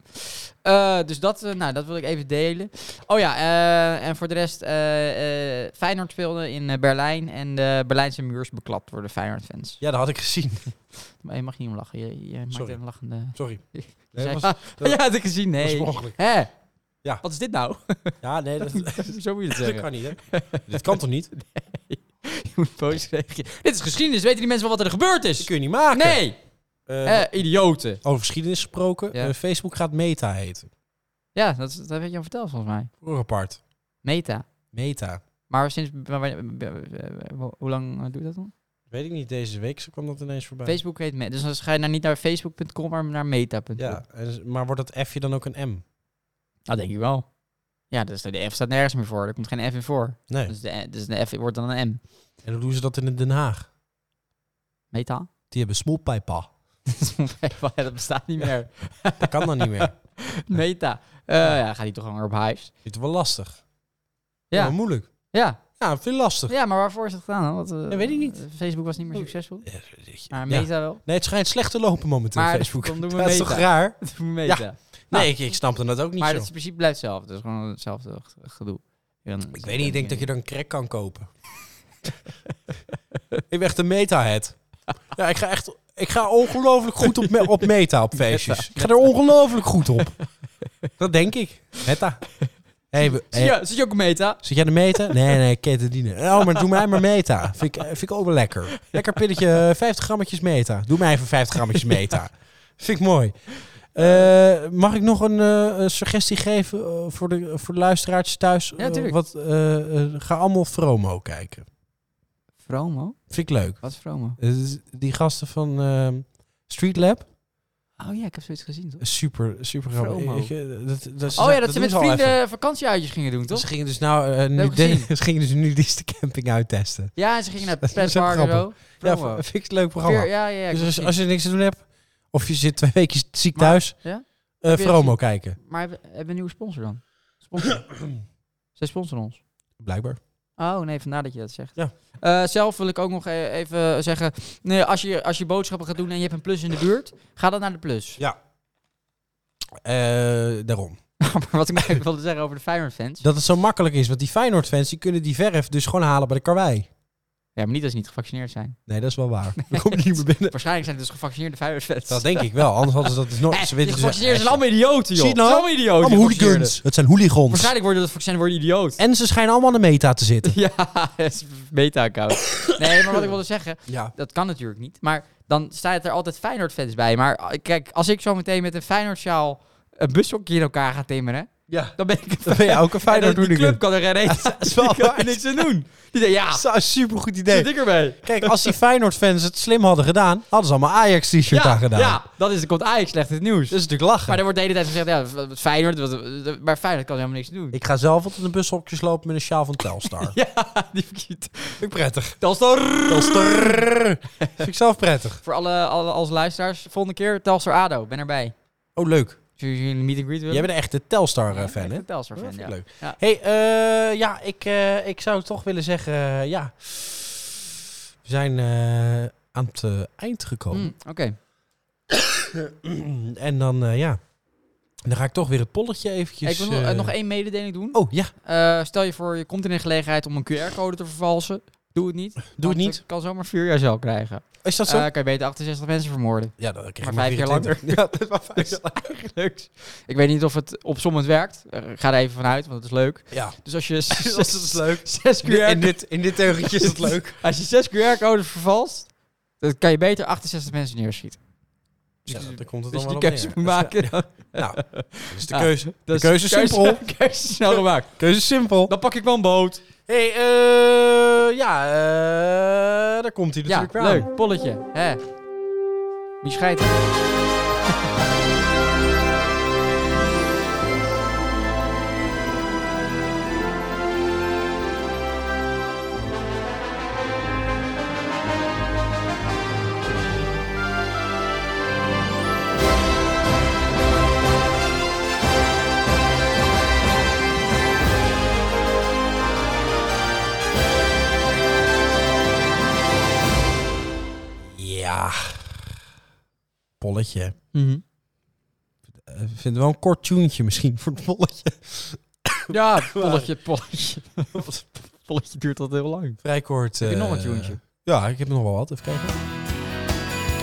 Eh, dus dat, eh, nou, dat wil ik even delen. Oh ja, eh, en voor de rest, eh, eh, Feyenoord speelde in eh, Berlijn en de Berlijnse muur is beklapt door de Feyenoord-fans.
Ja, dat had ik gezien.
Maar je mag niet om lachen, je, je maakt
Sorry.
een lachende...
Sorry.
Je
Nee,
zei,
was,
"Ah,
dat-
ja, had ik gezien,
was
nee.
per ongeluk.
Hè?
Ja.
Wat is dit nou?
Ja, nee, dat,
Zo moet je het
dat
zeggen.
kan niet, hè? Dit kan toch niet?
Je moet boos reageren. Dit is geschiedenis, weten die mensen wel wat er gebeurd
Dat
is?
kun je niet maken.
Nee!
Eh,
Eh, idioten.
Over geschiedenis gesproken.
Ja.
eh, Facebook gaat Meta heten.
Ja, dat, dat heb je al verteld volgens mij.
Voor apart.
Meta.
Meta.
Maar sinds... maar wanneer- b- b- b- Hoe lang eh, doe je dat dan?
Weet ik niet, deze week zo kwam dat ineens voorbij.
Facebook heet Meta. Dus dan ga je naar, niet naar facebook.com, maar naar meta.com.
Ja, en, maar wordt dat F'je dan ook een M?
Dat Nou, denk ik wel. Ja, dus de F staat nergens meer voor. Er komt geen F in voor.
Nee.
Dus de, dus de F wordt dan een M.
En hoe doen ze dat in Den Haag?
Meta?
Die hebben smoelpijpa.
Ja, dat bestaat niet meer.
Dat kan dan niet meer.
Meta. Eh, ja. dan gaat hij toch gewoon op hives.
Dit is wel lastig. Ja.
Ja.
Wel moeilijk.
Ja.
Ja, vind ik lastig.
ja, maar waarvoor is dat gedaan dan? Want, eh,
Dat weet ik niet.
Facebook was niet meer succesvol.
Ja.
Maar Meta wel.
Nee, het schijnt slecht te lopen momenteel
Maar
Facebook.
dan doen we
dat is toch
Meta.
raar?
Meta. Nou,
nee, ik, ik snapte dat ook niet
maar
zo.
het is in principe blijft hetzelfde. Het is gewoon hetzelfde ge- gedoe.
Ik weet niet, ik denk dat je er een crack kan kopen. ik ben echt een meta-head. Ja, ik ga echt... Ik ga ongelooflijk goed op, me- op meta op feestjes. Ik ga er ongelooflijk goed op. Dat denk ik. Meta. Hey, we- hey,
Zie je, zie je ook een meta?
Zit jij de meta? Nee, nee, ketadine. Oh, maar doe mij maar meta. Vind ik, eh, vind ik ook wel lekker. Lekker pilletje, eh, 50 grammetjes meta. Doe mij even 50 grammetjes meta. Vind ik mooi. Eh, mag ik nog een eh, een suggestie geven eh, voor, de, voor de luisteraars thuis?
Ja, tuurlijk.
Eh, wat, eh, eh, ga allemaal Fromo kijken.
Fromo?
Vind ik leuk.
Wat is Fromo?
Eh, die gasten van eh, Street Lab.
Oh ja, ik heb zoiets gezien, toch?
Super, super
Fromo.
grappig. Ik, eh, dat, dat,
oh ja, dat, ze
doen
met
al even.
vrienden vakantieuitjes gingen doen, toch?
Ze gingen dus nou eh, nu
Leuk
de,
gezien.
ze gingen dus nu deze camping uittesten.
Ja, en ze gingen naar
Dat
het
is ook
Pressbar en zo.
Ja,
Fromo.
vind ik een leuk programma.
Veer- ja, ja, ja. ik
Dus
heb
als,
het
als je niks te doen hebt, of je zit twee weken ziek
Maar-
thuis,
ja?
eh,
Heb je
Fromo
gezien?
kijken.
gezien. Maar hebben hebben we een nieuwe sponsor dan? Sponsor. Zij sponsoren ons.
Blijkbaar.
Oh nee, vandaar dat je dat zegt.
Ja.
Eh, zelf wil ik ook nog e- even zeggen, nee, als, je, als je boodschappen gaat doen en je hebt een plus in de buurt, ga dan naar de plus.
Eh, daarom.
maar wat ik eigenlijk wilde zeggen over de Feyenoord fans.
Dat het zo makkelijk is, want die Feyenoord-fans die kunnen die verf dus gewoon halen bij de karwei.
Ja, maar niet als ze niet gevaccineerd zijn.
Nee, dat is wel waar. Dan kom je niet meer binnen.
Waarschijnlijk zijn het dus gevaccineerde Feyenoord-fans.
Dat denk ik wel, anders hadden ze dat dus nooit.
Eh,
Ze
die
weten dus
gevaccineerden
eh,
zijn allemaal idioten, joh.
Zie je nou?
Allemaal idioten.
allemaal
die gevaccineerden.
hooligans. Het zijn hooligans.
Waarschijnlijk worden dat vaccin worden idioot.
En ze schijnen allemaal aan de meta te zitten.
Ja, dat is beta-account. nee, maar wat ik wilde zeggen,
Ja.
dat kan natuurlijk niet. Maar dan staat er altijd Feyenoord-fans bij. Maar ah, kijk, als ik zo meteen met een Feyenoord-sjaal een bushokje in elkaar ga timmeren,
Ja.
dan ben ik een
Dan ben je ook een
En
Feyenoord
die club
hooligan.
kan er geen eten.
is wel
Die kan
waar.
er niks aan doen. Die denkt, ja,
Dat is een supergoed
zit
idee.
ik erbij.
Kijk, als die Feyenoord-fans het slim hadden gedaan, hadden ze allemaal Ajax-t-shirt aan
Ja,
gedaan.
ja, dat is, komt Ajax slecht in het nieuws.
Dat is natuurlijk lachen.
Maar er wordt de hele tijd gezegd, ja, wat- wat Feyenoord, wat- wat- maar Feyenoord kan helemaal niks doen.
Ik ga zelf altijd een bushokjes lopen met een sjaal van Telstar.
Ja, die verkiet.
Vind ik prettig.
Telstar.
Telstar. Vind ik zelf prettig.
Voor alle, alle als luisteraars, volgende keer Telstar ADO, ben erbij.
Oh, leuk.
Zullen jullie een meet and greet willen?
Jij bent een echte Telstar-fan,
Ja,
hè? Oh,
ik ben Telstar
Dat
fan,
vind ik
ja.
leuk.
Ja.
hey, eh, ja, ik, eh, ik zou toch willen zeggen, eh, ja. We zijn eh, aan het eh, eind gekomen.
Mm, Oké. Hmm.
En dan, eh, ja. Dan ga ik toch weer het polletje eventjes...
ik wil nog- eh,
eh,
nog één mededeling doen.
Oh, ja.
Eh, stel je voor, je komt in een gelegenheid om een QR-code te vervalsen. Doe het niet.
het
want
niet.
je kan zomaar vier jaar cel krijgen.
Is dat
Eh
zo?
kan je beter 68 mensen vermoorden.
ja, dan krijg je
maar vijf jaar
24. Ja, dat is maar vijf jaar langer.
Leuk. Ik weet niet of het opzommend werkt. Eh, ga er even vanuit, want het is leuk.
Ja,
Dus als je zes,
dat is leuk.
zes QR
In dit, in dit teugentje is dat leuk.
Als je zes QR-codes vervalst, dan kan je beter 68 mensen neerschieten.
Ja, daar komt het
Dus
dan
die
wel
keuze
op
moet
neer.
maken.
Nou, dat is de
Ah,
keuze.
Dat
de keuze is simpel.
keuze is snel gemaakt.
Keuze is simpel.
Dan pak ik wel een boot.
hey, eh, ja, eh, daar komt hij
Ja,
natuurlijk weer aan.
leuk. Polletje. Hè. Wie scheidt?
Ja. Polletje. Eh, vinden we wel een kort tunetje misschien voor het polletje.
Ja, polletje, polletje. polletje duurt altijd heel lang.
Vrij kort.
Heb je
eh,
nog een tunetje?
Ja, ik heb nog wel wat. Even kijken.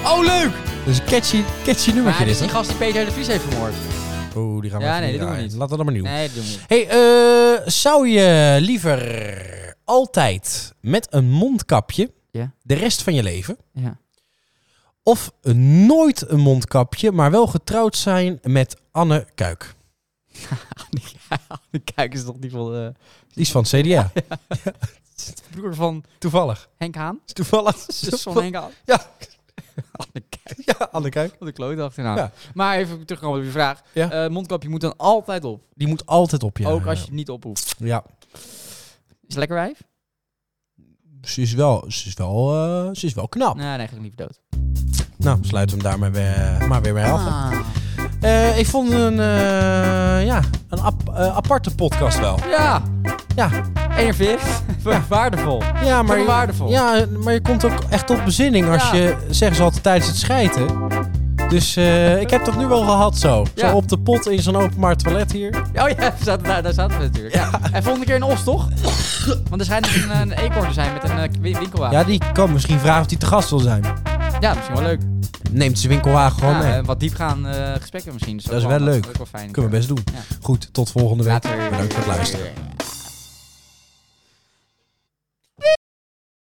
Oh, leuk!
Dus een catchy, catchy
Maar
nummertje
dit is
dit,
die gast die Peter de Vries heeft vermoord.
hè? Oeh, die gaan we
Ja,
even
nee,
niet
dat doen we
draaien.
niet.
Laten we dat maar niet doen.
Nee, dat doen we niet.
Hey, eh, zou je liever altijd met een mondkapje
Ja.
de rest van je leven?
Ja.
Of nooit een mondkapje, maar wel getrouwd zijn met Anne Kuik?
De kijkers toch niet van de
Die is van het CDA.
broer van
Toevallig.
Henk Haan.
Is Toevallig.
Zus van Henk Haan.
Ja.
Anne Kuik.
Ja, Anne Kuik.
Wat een klote achternaam.
Ja.
Maar even terugkomen op je vraag.
Ja.
Eh, mondkapje moet dan altijd op.
Die moet altijd op je. eh,
Ook als je het niet ophoeft.
Ja.
Is het lekker wijf?
Ze is wel, ze is wel, eh, ze is wel knap.
Nee, nee, eigenlijk liever dood.
Nou, sluiten we hem daar maar weer, maar weer mee af.
Ah.
Eh, ik vond het een, eh, ja, een ap- eh, aparte podcast wel.
Ja,
Ja,
enerveert. Waardevol.
ja maar,
Toch
je-
waardevol.
ja, maar je komt ook echt tot bezinning als
Ja.
je, zeggen ze altijd, tijdens het schijten. Dus eh, ik heb het toch nu wel gehad zo.
Ja.
Zo op de pot in zo'n openbaar toilet hier.
Oh ja, daar zaten, daar, daar zaten we natuurlijk. Ja. En volgende keer een os, toch? Want er schijnt dus een, een eekhoorn te zijn met een eh, win- winkelwagen.
Ja, die kan misschien vragen of die te gast wil zijn.
Ja. misschien wel leuk.
Oh, Neemt zijn winkelwagen gewoon
Ja,
mee.
eh, wat diepgaan eh gesprekken misschien. Dus
Dat is wel leuk.
Dat is ook wel fijn.
Kunnen we best doen.
Ja.
Goed, tot volgende week.
Later.
Bedankt voor het luisteren.
Later.